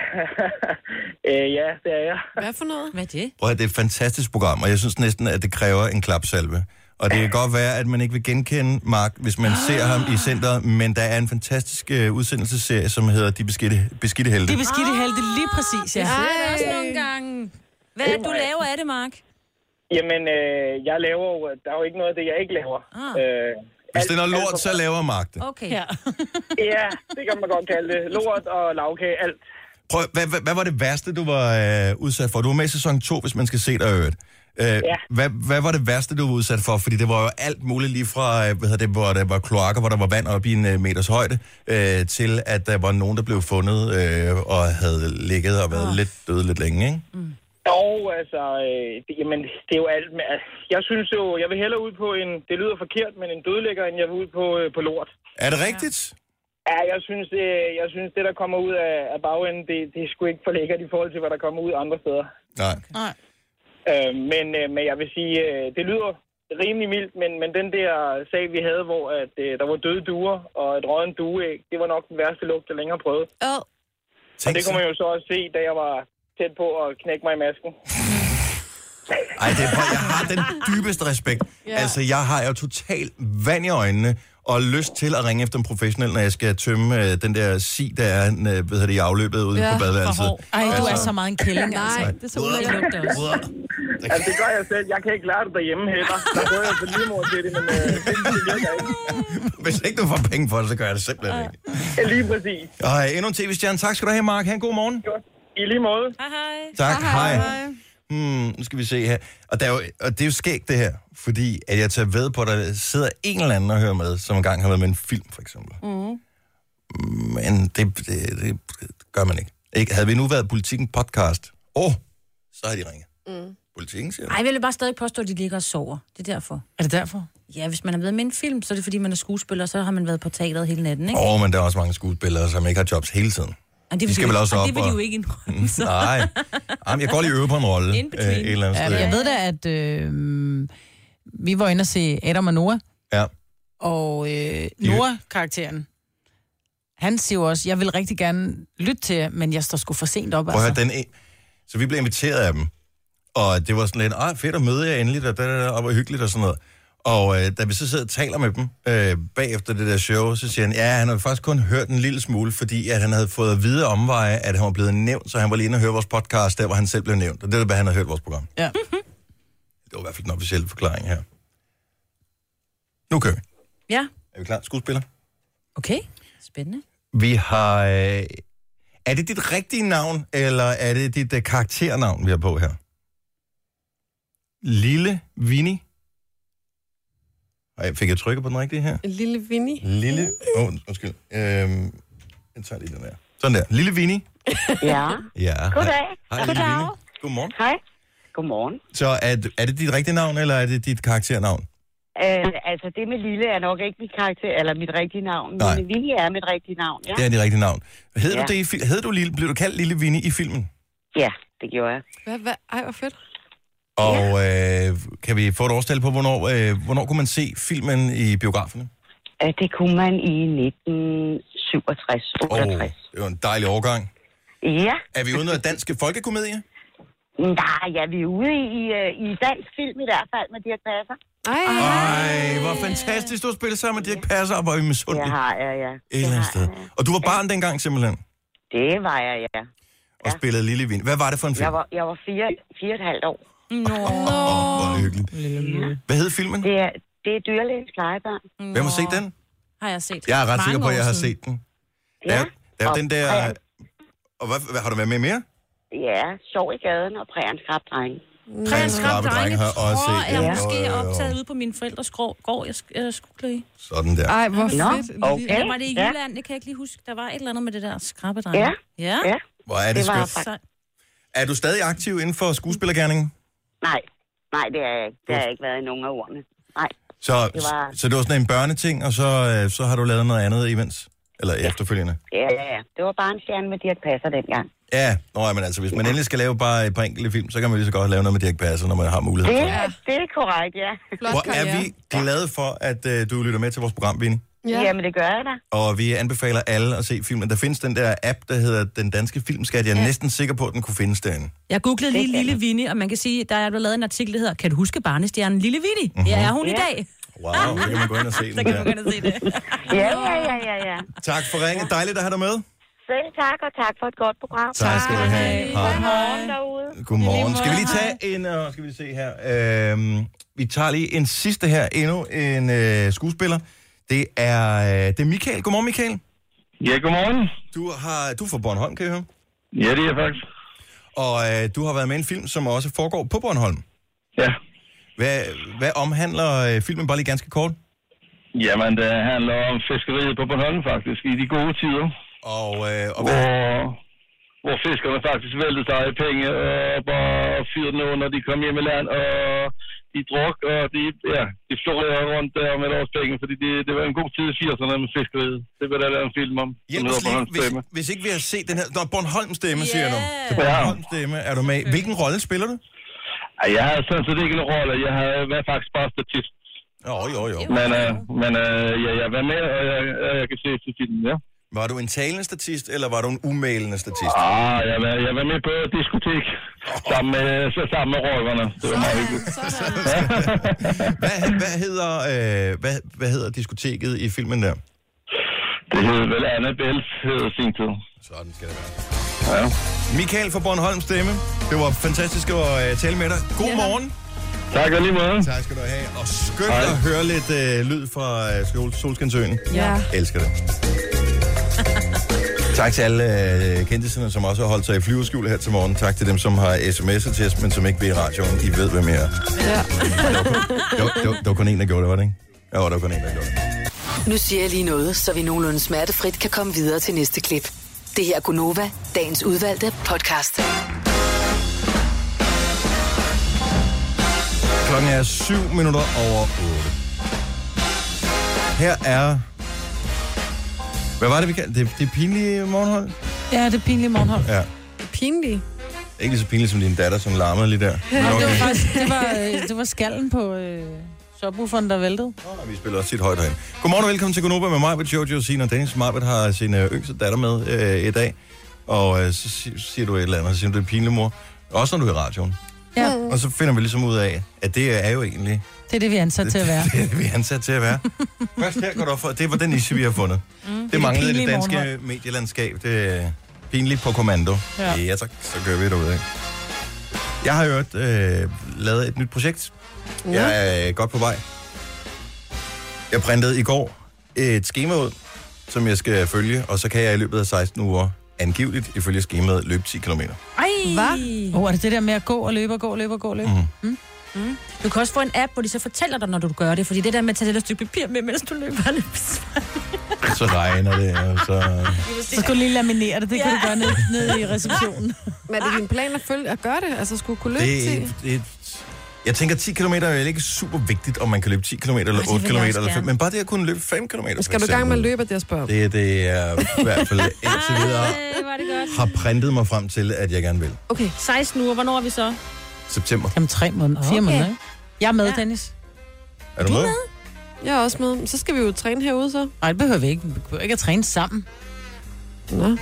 øh, ja, det er jeg. Hvad for noget? Hvad er det? Prøv at høre, det er et fantastisk program, og jeg synes næsten, at det kræver en klapsalve. Og det kan godt være, at man ikke vil genkende Mark, hvis man ser ham i centret, men der er en fantastisk øh, udsendelsesserie, som hedder De Beskidte, beskidte Helte. De beskidte helte lige præcis, ja. Jeg ser det også nogle gange. Hvad er det, du laver af det, Mark? Jamen, øh, jeg laver jo, der er jo ikke noget af det, jeg ikke laver. Ah. Øh, Hvis det er noget lort, så laver Mark det. Okay. Ja. ja, det kan man godt kalde det. Lort og lavkage, alt. Prøv, hvad, hvad, hvad var det værste, du var øh, udsat for? Du var med i sæson 2, hvis man skal se dig i øvrigt. Øh, ja. hvad, hvad var det værste, du var udsat for? Fordi det var jo alt muligt lige fra, øh, hvad hedder det, hvor der var kloakker, hvor der var vand op i en øh, meters højde, øh, til at der var nogen, der blev fundet øh, og havde ligget og været oh. lidt døde lidt længe, ikke? Og altså, øh, det, jamen, det er jo alt med... Altså, jeg synes jo, jeg vil hellere ud på en... Det lyder forkert, men en dødlægger, end jeg vil ud på, øh, på lort. Er det rigtigt? Ja, jeg synes, det, jeg synes, det der kommer ud af, af bagenden, det, det er sgu ikke for lækkert i forhold til, hvad der kommer ud andre steder. Nej. Nej. Øh, men, øh, men jeg vil sige, øh, det lyder rimelig mildt, men, men den der sag, vi havde, hvor at, øh, der var døde duer og et rødden dueæg, det var nok den værste lugt, jeg længere prøvede. Oh. Og det kunne man jo så også se, da jeg var tæt på at knække mig i masken. Ej, det er, prøv, jeg har [LAUGHS] den dybeste respekt. Ja. Ja. Altså, jeg har jo totalt vand i øjnene og lyst til at ringe efter en professionel, når jeg skal tømme øh, den der si, der er øh, hvad hedder det, i afløbet ude ja, på badeværelset. Ej, du er så meget en kælling, altså. Nej, Nej, det det så ulækkert også. Altså, det gør jeg selv. Jeg kan ikke klare det derhjemme heller. Der prøver jeg for lige mor til det, men øh, det, det virker ikke. Hvis ikke du får penge for det, så gør jeg det simpelthen ikke. Ja, øh, lige præcis. Og øh, endnu en tv-stjerne. Tak skal du have, Mark. Ha' en god morgen. I lige måde. Hej, hej. Tak, hej. Hmm, nu skal vi se her. Og, der er jo, og det er jo skægt, det her. Fordi at jeg tager ved på, at der sidder en eller anden og hører med, som engang har været med i en film, for eksempel. Mm. Men det, det, det gør man ikke. ikke. Havde vi nu været Politiken podcast, åh, oh, så havde de ringet. Mm. Politiken siger Ej, jeg vil bare stadig påstå, at de ligger og sover. Det er derfor. Er det derfor? Ja, hvis man har været med i en film, så er det fordi, man er skuespiller, så har man været på teateret hele natten, ikke? Åh, oh, men der er også mange skuespillere, som ikke har jobs hele tiden. Og de skal vel også op og... Det vil de jo ikke indrømme, [LAUGHS] så. Nej, Jamen, jeg går lige øve på en rolle. In øh, et eller andet Ja, sted. men jeg ved da, at øh, vi var inde og se Adam og Noah, Ja. og øh, Noah-karakteren, han siger jo også, jeg vil rigtig gerne lytte til jer, men jeg står sgu for sent op, Prøv at altså. høre, den en... Så vi blev inviteret af dem, og det var sådan lidt, ah, fedt at møde jer endelig, og, da, da, da, og hvor hyggeligt og sådan noget. Og øh, da vi så sidder og taler med dem øh, bagefter det der show, så siger han, ja, han havde faktisk kun hørt en lille smule, fordi at han havde fået at vide omveje, at han var blevet nævnt, så han var lige inde og høre vores podcast, der hvor han selv blev nævnt. Og det er, hvad han havde hørt vores program. Ja. Det var i hvert fald den officielle forklaring her. Nu kører vi. [LAUGHS] Ja, Er vi klar? Skuespiller? okay. Spændende. Vi har... Øh... Er det dit rigtige navn, eller er det dit øh, karakternavn, vi har på her? Lille Vinny. Ej, fik jeg trykket på den rigtige her? En lille Vinny. Lille... Åh, oh, undskyld. Øhm, jeg tager lige den der. Sådan der. Lille Vinny. Ja. [LAUGHS] Ja. Goddag. Hej, Lille Goddag. Vinny. Godmorgen. Hej. Godmorgen. Så er, det- er det dit rigtige navn, eller er det dit karakternavn? Øh, altså, det med Lille er nok ikke mit karakter, eller mit rigtige navn. Nej. Men Lille er mit rigtige navn, ja. Ja. Det er dit rigtige navn. Hed ja. Ja. du det i fil- hed du Lille, blev du kaldt Lille Vinny i filmen? Ja, det gjorde jeg. Hvad, hvad? Ej, hvor fedt. Og øh, kan vi få et årstal på, hvornår, øh, hvornår kunne man se filmen i biograferne? Øh, det kunne man i 1967. Åh, oh, det var en dejlig overgang. Ja. Er vi ude noget dansk folkekomedie? Nej, ja, vi er ude i, i, øh, i dansk film i hvert fald med Dirk Passer. Ej. Ej, hvor fantastisk, du har spillet sammen med Dirk Passer, og hvor er vi misundelige. Det har jeg, ja. Et eller andet sted. Og du var barn dengang simpelthen, Det var jeg, ja. og spillede Lille Vind. Hvad var det for en film? Jeg var, jeg var fire, fire og et halvt år. Nå. Hvor er det hyggeligt. Hvad hed filmen? Det er, det er dyrlægens plejebørn. Hvem har set den? Har jeg set. Jeg er ret sikker på, at jeg har set den. Der, er- der er jo og den der... Og hvad, hvad, har du været med i mere? Ja, sov i gaden og præren skrab drenge. Præriens Skrappe Skrappe Drenge Drenge har også tror set jeg den. Jeg er måske måske Jo, jo, jo. optaget optaget ude på mine forældres gård, jeg, jeg skulle i. Sådan der. Ej, hvor Nå, fedt. okay. Ja, var det i Ja. Jylland? Det kan jeg ikke lige huske. Der var et eller andet med det der skrabbedreng. Ja. Ja. Ja. Hvor er det, Det var skønt. Er du stadig aktiv inden for skuespillergærningen? Nej, nej, det er jeg ikke. Det har jeg ikke været i nogen af ordene. Nej, Så Det var- så det var sådan en børneting, og så, øh, så har du lavet noget andet imens? Eller efterfølgende. Ja, ja, ja. Det var bare en stjerne med Dirk Passer dengang. Ja, nå, men altså, hvis man endelig skal lave bare et par enkelte film, så kan man lige så godt lave noget med Dirk Passer, når man har mulighed Det, for ja. det er korrekt, ja. Hvor er vi glade for, at øh, du lytter med til vores program, Vinnie. Ja. Jamen, det gør jeg da. Og vi anbefaler alle at se filmen. Der findes den der app, der hedder Den Danske Filmskat. Jeg er Ja. ja. næsten sikker på, at den kunne findes derinde. Jeg googlede lige Lille Vinnie, og man kan sige, der er blevet lavet en artikel, der hedder, kan du huske barnestjernen Lille Vinnie? Mhm. Mm-hmm. Ja, er hun i Ja. dag? Wow, så kan man gå ind og se den [LAUGHS] Så kan man der. gå ind og se det. Ja, ja, ja, ja, ja. Tak for ringet. Dejligt at have dig med. Selv tak, og tak for et godt program. Tak skal du have. Hej. Godmorgen derude. Godmorgen. Skal vi lige tage en, og skal vi lige se her. Øhm, vi tager lige en sidste her, endnu en øh, skuespiller. Det er, øh, det er Michael. Godmorgen, Michael. Ja, godmorgen. Du, har, du er fra Bornholm, kan jeg høre. Ja, det er jeg faktisk. Og øh, du har været med i en film, som også foregår på Bornholm. Ja. Hvad, hvad omhandler øh, filmen bare lige ganske kort? Jamen, det handler om fiskeriet på Bornholm faktisk, i de gode tider. Og, øh, og hvor, hvor fiskerne faktisk væltede sig i penge og bare fyrede noget, når de kom hjem i land, og de druk, og de, ja, de florerede rundt der med deres penge, fordi det, det var en god tid i 80'erne med fiskeriet. Det var der lavet en film om. som Hjælp hedder os lige, Bornholms hvis, Stemme. hvis ikke vi har set den her... Nå, Bornholms stemme, yeah. siger du. Så Ja. Bornholms stemme er du med. i. Hvilken rolle spiller du? Ej, Jeg havde sådan set ikke en rolle. Jeg havde været faktisk bare statist. Jo, jo, jo. Men, øh, men øh, ja, jeg var med, og jeg, jeg, jeg kan se til filmen, ja. Var du en talende statist, eller var du en umælende statist? Ah, jeg var, jeg var med på diskotek sammen med, så sammen med røverne. Det var meget hyggeligt. [LAUGHS] Hvad, hvad, hedder, øh, hvad, hvad hedder diskoteket i filmen der? Det hed vel Annabels hed sin tid. Sådan skal det være. Ja. Michael fra Bornholms stemme. Det var fantastisk at øh, tale med dig. God morgen. Tak og lige måde. Tak skal du have. Og skønt at høre lidt øh, lyd fra øh, Sol- Solskinsøen. Ja. Elsker det. Tak til alle øh, kendtiserne, som også har holdt sig i flyverskjul her til morgen. Tak til dem, som har sms'et til os, men som ikke vil i radioen. I ved, hvem jeg er. Ja. Det var, det var, det var kun en, der gjorde det, var det ikke? Ja, det var kun en, der gjorde det. [LAUGHS] Nu siger jeg lige noget, så vi nogenlunde smertefrit kan komme videre til næste klip. Det her er Gunova, dagens udvalgte podcast. Klokken er 7 minutter over 8. Her er... Hvad var det, vi kaldte det? Det pinlige morgenhold? Ja, det er pinlige morgenhold. Ja. Pinlig. Ikke lige så pinligt som din datter, som larmede lige der. Men Det var okay. faktisk, det var, øh, det var skallen på øh, subwooferen, der væltede. Vi spiller også sit højt herinde. Godmorgen og velkommen til Konoba med mig, Jojo, Sina og Dennis. Marbet har sin øh, yngste datter med øh, i dag. Og øh, så si- siger du et eller andet, og så siger du, det er pinligt, mor. Også når du er i radioen. Ja, Og så finder vi ligesom ud af, at det er jo egentlig det er det, vi er ansat til [LAUGHS] at være. det, er det, vi er ansat til at være. Først her går det op for, at det var den niche, vi har fundet. Mm. Det manglede i det pinlige danske morgenhold. medielandskab. Det er pinligt på kommando. Ja. Ja, ja tak. Så gør vi det ud af. Jeg har hørt øh, lavet et nyt projekt. Ja. Jeg er øh, godt på vej. Jeg printede i går et schema ud, som jeg skal følge, og så kan jeg i løbet af 16 uger angiveligt, ifølge skemaet, løbe 10 km. Ej! Hvad? Åh, oh, er det det der med at gå og løbe og gå og løbe og gå og løbe? Mhm. Mm. Mm. Du kan også få en app, hvor de så fortæller dig, når du gør det. Fordi det der med at tage det der stykke papir med, mens du løber, er lidt besværligt. Så regner det, og så... Så skulle du lige laminere det, det kan du gøre ned, ned [LAUGHS] i receptionen. Men er det din plan at, følge, at gøre det? Altså, skulle kunne løbe Det, til? er- det, er- jeg tænker, 10 km er vel ikke super vigtigt, om man kan løbe 10 km eller det vil 8 jeg km også eller 5 gerne. Men bare det at kunne løbe 5 km. Skal du i gang med at løbe, det jeg spørger om? Det, det er i hvert [LAUGHS] fald indtil [LAUGHS] videre var det godt. har printet mig frem til, at jeg gerne vil. Okay, 16 uger. Hvornår er vi så? September. Om tre måneder, fire Okay. måneder, ikke? Jeg er med, ja. Dennis. Er du med? Jeg er også med. Men Så skal vi jo træne herude, så. Nej, det behøver vi ikke. Vi behøver ikke at træne sammen. Nå.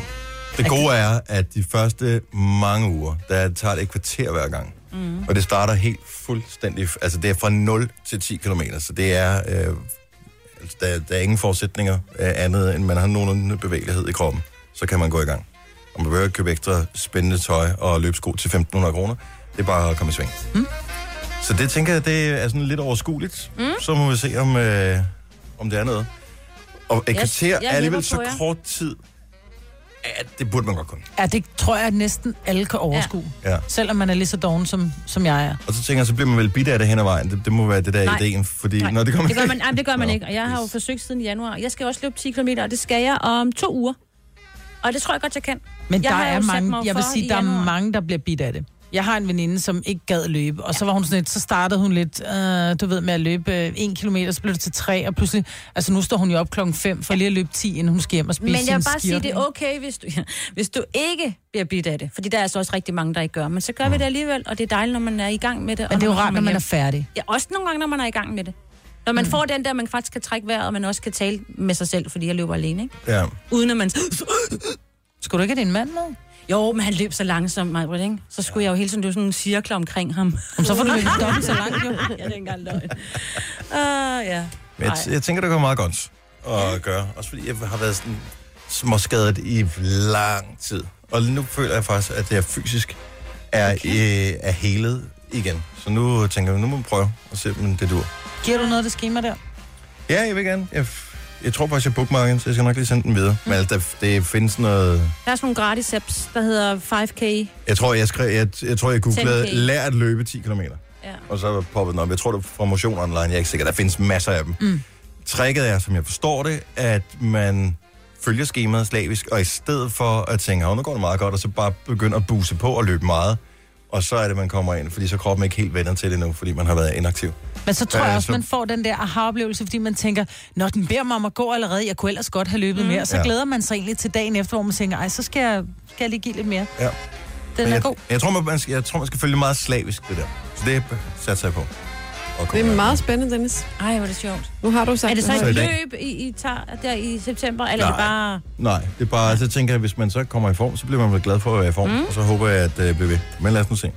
Det gode er, at de første mange uger, der tager det et kvarter hver gang. Mm. Og det starter helt fuldstændig... Altså, det er fra 0 til 10 km, så det er... Øh, altså, der, der er ingen forudsætninger øh, andet, end man har nogenlunde bevægelighed i kroppen. Så kan man gå i gang. Og man behøver ikke købe ekstra spændende tøj og løbsko til 1.500 kroner. Det er bare at komme i sving. Mm. Så det tænker jeg, det er sådan lidt overskueligt. Mm. Så må vi se, om, øh, om det er noget. Og et Jeg- kvarter jeg er alligevel hepper så på jer. kort tid, at det burde man godt kunne. Ja, det tror jeg, at næsten alle kan overskue. Ja. Selvom man er lige så doven, som, som jeg er. Og så tænker jeg, så bliver man vel bidt af det hen ad vejen. Det, det må være det der Nej. Nej. ideen, fordi Nej, når det kommer... det gør man, nej, det gør man Nå. ikke. Og jeg har jo forsøgt siden januar. Jeg skal også løbe 10 km, og det skal jeg om to uger. Og det tror jeg godt, jeg kan. Men jeg der har er jo sat mange, mig jeg vil for sige, i der er januar. mange, der bliver bidt af det. Jeg har en veninde, som ikke gad løbe, og så var hun sådan lidt, så startede hun lidt, øh, du ved, med at løbe øh, en kilometer, så blev det til tre, og pludselig, altså nu står hun jo op klokken 5 for lige at løbe 10, inden hun skal hjem og spise Men jeg vil sin bare sige, skirte, det er ikke? okay, hvis du, [LAUGHS] hvis du ikke bliver bidt af det. Fordi der er altså også rigtig mange, der ikke gør. Men så gør vi det alligevel, og det er dejligt, når man er i gang med det. Men og det er jo når rart, når kommer man er hjem. færdig. Ja, også nogle gange, når man er i gang med det. Når man mm. får den der, man faktisk kan trække vejret, og man også kan tale med sig selv, fordi jeg løber alene, ikke? Ja. Uden at man... [LAUGHS] Skulle du ikke have din mand med? Jo, men han løb så langsomt, Majbrit, ikke? Så skulle jeg jo hele tiden løbe sådan nogle cirkler omkring ham. Jamen, så får du [LAUGHS] løbet dobbelt så langt, jo. ja, det er ikke engang løgn. Uh, ja. Men jeg, jeg tænker, det går meget godt at gøre. Også fordi jeg har været sådan småskadet i lang tid. Og nu føler jeg faktisk, at jeg fysisk er, okay. øh, er helet igen. Så nu tænker jeg, nu må man prøve og se, om det dur. Giver du noget af det schema der? Ja, jeg vil gerne. Jeg, f- jeg tror faktisk, jeg bookmarker den, så jeg skal nok lige sende den videre. Mm. Men altså, der, det findes noget... Der er sådan nogle gratis apps, der hedder 5K. Jeg tror, jeg, skrev, jeg, jeg, tror, jeg googlede 10K. lær at løbe 10 km. Ja. Og så poppede den op. Jeg tror, det er fra Motion Online. Jeg er ikke sikker. Der findes masser af dem. Mm. Tricket er, som jeg forstår det, at man følger skemaet slavisk, og i stedet for at tænke, at nu går det meget godt, og så bare begynder at buse på og løbe meget, og så er det, man kommer ind, fordi så er kroppen ikke helt venner til det nu, fordi man har været inaktiv. Men så tror Øh, jeg også, så- man får den der aha-oplevelse, fordi man tænker, når den beder mig om at gå allerede, jeg kunne ellers godt have løbet mm. mere. Så Ja. ja. glæder man sig egentlig til dagen efter, hvor man tænker, ej, så skal jeg, skal jeg lige give lidt mere. Ja. Den Men er jeg, god. Jeg tror, man, man skal, jeg tror, man skal følge meget slavisk det der. Så det satser jeg på. Og Det kommer er jeg. meget spændende, Dennis. Ej, hvor er det sjovt. Nu har du sagt Er det så Så i et dag- løb, I, I tager der i september, eller er det Nej. bare... Nej, det er bare, så tænker jeg, hvis man så kommer i form, så bliver man vel glad for at være i form, Mm. mm. og så håber jeg, at det øh, bliver ved. Men lad os nu se.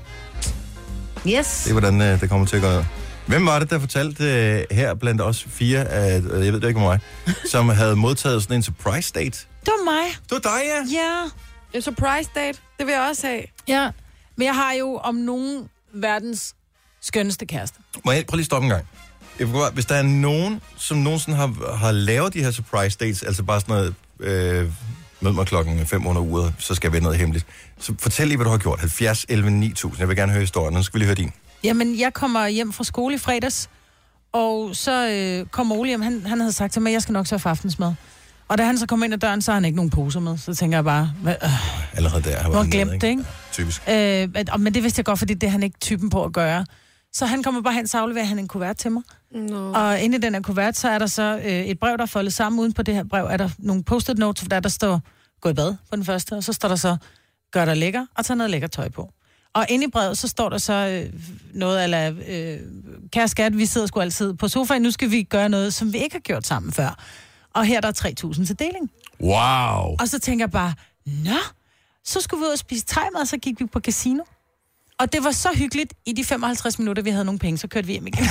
Yes. se, hvordan øh, det kommer til at gå ned. Hvem var det, der fortalte øh, her blandt os fire, at, øh, jeg ved det ikke med mig, som havde modtaget sådan en surprise date? Det var mig. Det var dig, ja. Ja. En surprise date, det vil jeg også have. Ja, men jeg har jo om nogen verdens skønneste kæreste. Må jeg prøve lige at stoppe en gang? Jeg vil godt- Hvis der er nogen, som nogensinde har, har lavet de her surprise dates, altså bare sådan noget, øh, mød mig klokken 5 under uret, så skal jeg være noget hemmeligt. Så fortæl lige, hvad du har gjort. 70 11 9000. Jeg vil gerne høre historien. Nu skal vi lige høre din. Jamen, jeg kommer hjem fra skole i fredags, og så øh, kommer Ole hjem. Han, han havde sagt til mig, at jeg skal nok sørge for aftensmad. Og da han så kom ind ad døren, så har han ikke nogen poser med. Så tænker jeg bare, hvad, øh, Allerede der. har hvor været han nede, glemt det, ikke? Typisk. Øh, at- og- men det vidste jeg godt, fordi det er han ikke typen på at gøre. Så han kommer bare hen, så afleverer han en kuvert til mig. No. Og inde i den her kuvert, så er der så øh, et brev, der er foldet sammen. Uden på det her brev er der nogle post-it notes, for der, der står, gå i bad på den første, og så står der så, gør dig lækker, og tag noget lækker tøj på. Og inde i brevet, så står der så øh, noget, eller øh, kære skat, vi sidder sgu altid på sofaen, nu skal vi gøre noget, som vi ikke har gjort sammen før. Og her er der er 3.000 til deling. Wow. Og så tænker jeg bare, nå, så skulle vi ud og spise thaimat, og så gik vi på casino. Og det var så hyggeligt. I de 55 minutter, vi havde nogle penge, så kørte vi hjem igen.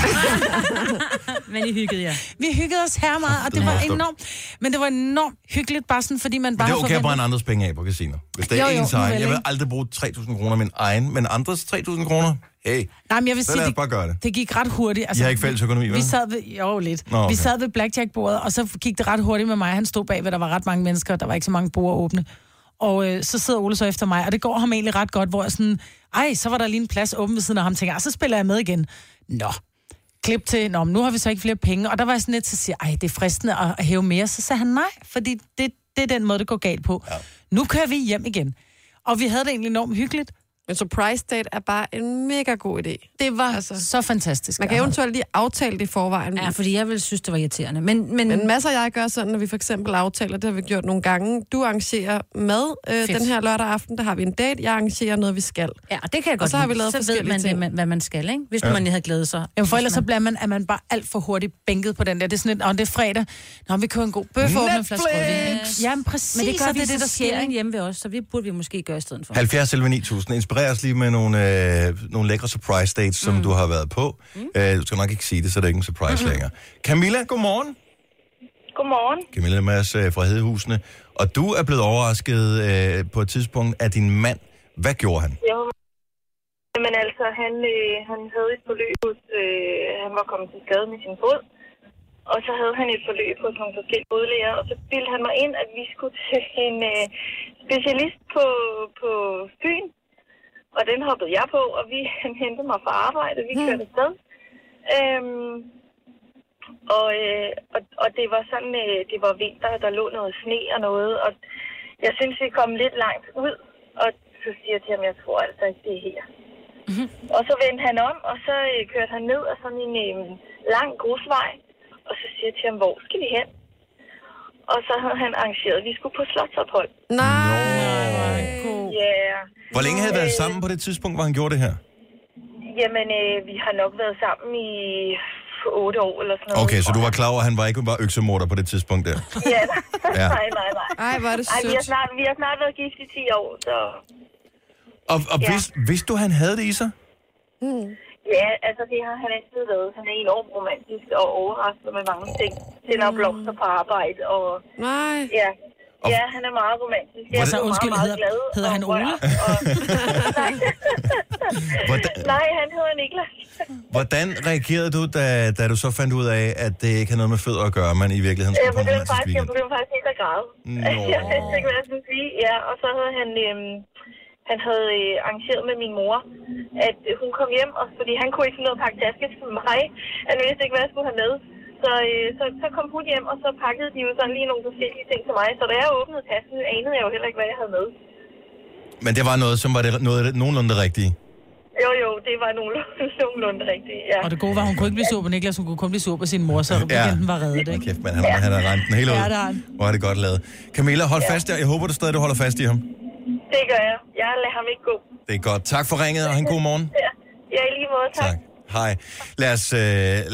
[LAUGHS] Men I hyggede jer. vi hyggede os her meget, og det var enormt... Men det var enormt hyggeligt, bare sådan, fordi man Men bare... det er okay at forventede- brænde andres penge af på casino. Hvis det er Jo, jo, ens egen, vel, jeg vil ikke? aldrig bruge 3.000 kroner af min egen, men andres 3.000 kroner, hey, Nej, men jeg vil så sige, lad os bare gøre det. Det gik ret hurtigt. I Altså, har ikke fælles økonomi, vi, vel? vi sad ved, jo, Nå, lidt. Nå, okay. okay. Vi sad ved blackjack-bordet, og så gik det ret hurtigt med mig. Han stod bagved, der var ret mange mennesker, og der var ikke så mange borde åbne. Og øh, så sidder Ole så efter mig, og det går ham egentlig ret godt, hvor jeg sådan, ej, så var der lige en plads åben ved siden af ham, tænker, "Ah, så spiller jeg med igen. Nå, klip til, nå, men nu har vi så ikke flere penge. Og der var jeg sådan lidt til at sige, ej, det er fristende at, at hæve mere. Så sagde han nej, fordi det, det er den måde, det går galt på. Ja. Nu kører vi hjem igen. Og vi havde det egentlig enormt hyggeligt. En surprise date er bare en mega god idé. Det var altså, så fantastisk. Man kan eventuelt lige aftale det i forvejen. Ja, fordi jeg ville synes, det var irriterende. Men, men... men masser af jeg gør sådan, når vi for eksempel aftaler, det har vi gjort nogle gange. Du arrangerer mad øh, Fedt. den her lørdag aften, der har vi en date. Jeg arrangerer noget, vi skal. Ja, det kan jeg Og godt så har vi lide. lavet Så ved forskellige man det, ting. man- hvad man skal, ikke? Hvis Ja. man havde glædet sig. Jamen, for ellers så bliver man, at man bare alt for hurtigt bænket på den der. Det er sådan lidt, og det er fredag. Nå, vi kører en god bøf og åbner en flaske rødvin. ikke? Jamen, præcis, Men det gør og vi det, der sker, sjældent ikke? hjemme ved os, så det burde vi måske gøre i stedet for. 70 11 9000. Inspirer os lige med nogle, øh, nogle lækre surprise dates, som du har været på. Mm. Øh, du skal nok ikke sige det, så det er ikke en surprise mm-hmm. længere. Camilla, godmorgen. Godmorgen. Camilla Mads øh, fra Hedehusene. Og du er blevet overrasket øh, på et tidspunkt af din mand. Hvad gjorde han? Jeg var... Jamen altså, han, øh, han havde et forløb hos... Øh, han var kommet til skade med sin fod. Og så havde han et forløb hos nogle forskellige fodlæger, og så bildte han mig ind, at vi skulle til en øh, specialist på, på Fyn. Og den hoppede jeg på, og vi, [LAUGHS] han hentede mig fra arbejde, vi kørte afsted. Øhm, og, øh, og, og det var sådan, øh, det var vinter, og der lå noget sne og noget, og jeg synes, vi kom lidt langt ud. Og så siger jeg til ham, jeg tror altså ikke, det er her. Og så vendte han om, og så øh, kørte han ned ad sådan en øh, lang grusvej. Og så siger jeg til ham, hvor skal vi hen? Og så havde han arrangeret, at vi skulle på slotsophold. Nej! Ja, Hvor længe havde I været sammen på det tidspunkt, hvor han gjorde det her? jamen øh, vi har nok været sammen i otte år eller sådan noget. Okay, så du var klar over, at han var ikke bare øksemorder på det tidspunkt der? Ja, Ja. nej, nej, nej. Ej, hvor er det vi, har sødt. snart, vi har snart været gift i 10 år, så... Og, og Ja. vidste, vidste du, han havde det i sig? Mm. Ja, altså det har han altid været. Han er enormt romantisk og overraskende med mange ting. Sender blomster på arbejde og... Mm. Nej. Ja. Ja, han er meget romantisk. Jeg er Altså, blevet undskyld, meget, meget hedder- glad. hedder han Ole? Nej, han hedder Niklas. [LAUGHS] Hvordan reagerede du, da, da du så fandt ud af, at det ikke havde noget med fødder at gøre, men i virkeligheden Jeg skulle på en begyndte romantisk faktisk, jeg weekend? begyndte faktisk helt at græde. Nå. [LAUGHS] Jeg vidste ikke, hvad jeg skulle sige. Ja, og så havde han, øhm, han havde øh, arrangeret med min mor, at øh, hun kom hjem, og fordi han kunne ikke finde noget at pakke taske til mig. Han vidste ikke, hvad jeg skulle have med. Så, øh, så, så kom hun hjem, og så pakkede de jo sådan lige nogle forskellige ting til mig. Så da jeg åbnede tasken, anede jeg jo heller ikke, hvad jeg havde med. Men det var noget, som var det, noget af det, nogenlunde det rigtige. Jo, jo, det var nogenlunde, [LAUGHS] nogenlunde rigtigt, ja. Og det gode var, at hun kunne ikke blive sur på Niklas, hun kunne kun blive sur på sin mor, så weekenden var reddet, ikke? Kæft, man, han, han har regnet den hele ud. Ja, det har han. Hvor er det godt lavet. Camilla, hold fast der. Jeg håber du stadig, du holder fast i ham. Det gør jeg. Jeg lader ham ikke gå. Det er godt. Tak for ringet, og have en god morgen. Ja, ja i lige måde, tak. tak. Hej. Lad os, øh,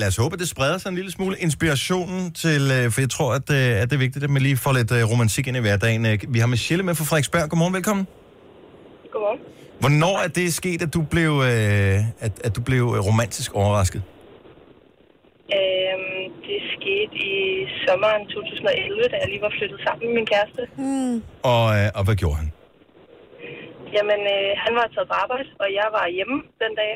lad os håbe, at det spreder sig en lille smule. Inspirationen til, øh, for jeg tror, at, øh, at det er vigtigt, at man lige får lidt øh, romantik ind i hverdagen. Øh, Vi har Michelle med fra Frederiksberg. Godmorgen, velkommen. Godmorgen. Hvornår er det sket, at du blev, øh, at, at du blev øh, romantisk overrasket? Øhm, det skete i sommeren 2011, da jeg lige var flyttet sammen med min kæreste. Mm. Og, øh, og hvad gjorde han? Jamen, øh, han var taget på arbejde, og jeg var hjemme den dag.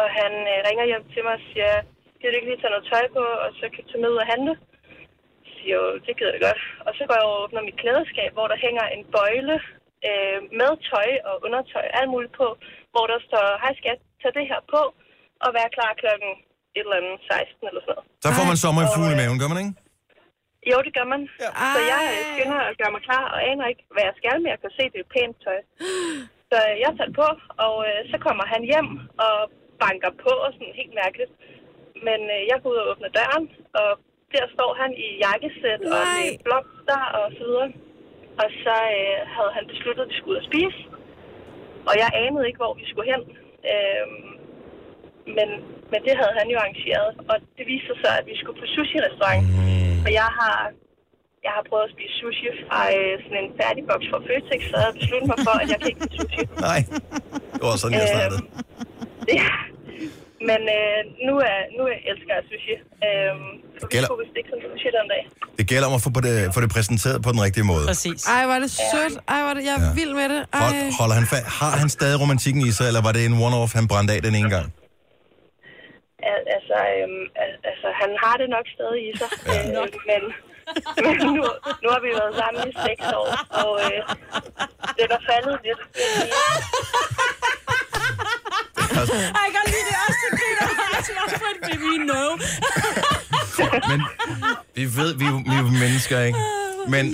Og han øh, ringer hjem til mig og siger, gider du ikke lige tage noget tøj på, og så kan du tage med ud og handle? Jeg siger, jo, det gider jeg godt. Og så går jeg over og åbner mit klædeskab, hvor der hænger en bøjle øh, med tøj og undertøj, alt muligt på, hvor der står, hej skat, tag det her på, og vær klar klokken et eller andet 16 eller sådan noget. Så får man sommer i fugle i maven, gør man ikke? Jo, det gør man. Ja. Så jeg øh, skynder at gøre mig klar, og aner ikke, hvad jeg skal, men jeg kan se, det er pænt tøj. Så øh, jeg tager det på, og øh, så kommer han hjem og banker på, og sådan helt mærkeligt. Men øh, jeg går ud og åbner døren, og der står han i jakkesæt og med blomster og så videre. Og så øh, havde han besluttet, at vi skulle ud og spise, og jeg anede ikke, hvor vi skulle hen. Øh, men, men det havde han jo arrangeret, og det viste sig så, at vi skulle på sushi-restaurant. Og jeg har, jeg har prøvet at spise sushi fra øh, sådan en færdigboks fra Føtex, så jeg besluttet mig for, at jeg kan ikke lide sushi. [LAUGHS] Nej, det var sådan, jeg startede. Ja. Men øh, nu, er, nu er- elsker jeg sushi. Øh, for vi Gælder- skulle vist ikke sådan sushi den dag. Det gælder om at få, på det, få det præsenteret på den rigtige måde. Præcis. Ej, hvor er det sødt. Ej, hvor er det, jeg er ja. vild med det. Ej. Hold, holder han fa- har han stadig romantikken i sig, eller var det en one-off, han brændte af den ene gang? Al- altså, øhm, al- altså, han har det nok stadig i sig, øh, men, [LAUGHS] men nu, nu har vi været sammen i seks år, og øh, det er faldet lidt. vil jeg sige. [LAUGHS] Ej, jeg kan godt lide det også, så griner jeg til for et baby no. Men vi ved, vi, er jo- vi er jo mennesker, ikke? Men,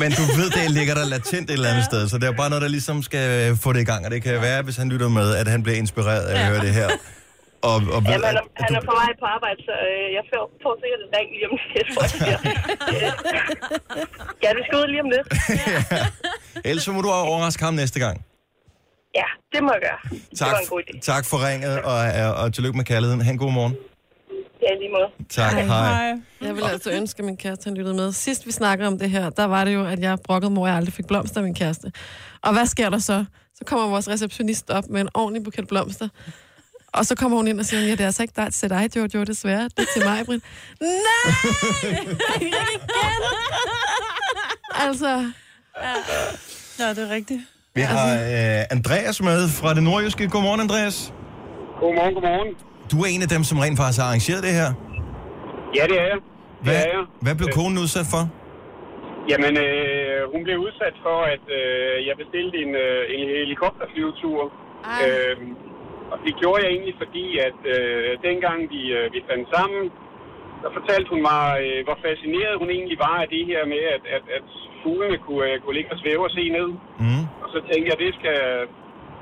men du ved, det ligger der latent et eller andet sted, så det er bare noget, der ligesom skal øh, få det i gang. Og det kan være, hvis han lytter med, at han bliver inspireret af at høre det her. Og, og ved, Jamen, at, han, er, han er på vej på arbejde, så øh, jeg får, får sikkert en ring lige om lidt. hvor jeg [LAUGHS] siger, øh, ja, du skal ud lige om lidt. ellers så må du overraske ham næste gang. Ja, det må jeg gøre. Tak, det var en god idé. tak for ringet, og, og, og tillykke med kærligheden. Ha' en god morgen. Ja, i lige måde. Tak, hej. hej. Jeg ville altså ønske, at min kæreste han lyttede med. Sidst vi snakkede om det her, der var det jo, at jeg brokkede mor, og jeg aldrig fik blomster af min kæreste. Og hvad sker der så? Så kommer vores receptionist op med en ordentlig buket blomster. Og så kommer hun ind og siger, ja, det er altså ikke dig til dig, Jojo, desværre. Det er til mig, Britt. Nej! [LAUGHS] Ikke igen! altså... Ja, det er rigtigt. Vi har øh, Andreas med fra det nordjyske. Godmorgen, Andreas. Godmorgen, godmorgen. Du er en af dem, som rent faktisk har arrangeret det her. Ja, det er jeg. Hvad, er jeg. hvad blev konen udsat for? Jamen, øh, hun blev udsat for, at øh, jeg bestilte en, øh, en helikopterflyvetur. Øh, og det gjorde jeg egentlig, fordi at øh, dengang vi, øh, vi fandt sammen, der fortalte hun mig, øh, hvor fascineret hun egentlig var af det her med, at, at, at fuglene kunne, øh, kunne ligge og svæve og se ned. Mm. Og så tænkte jeg, det skal,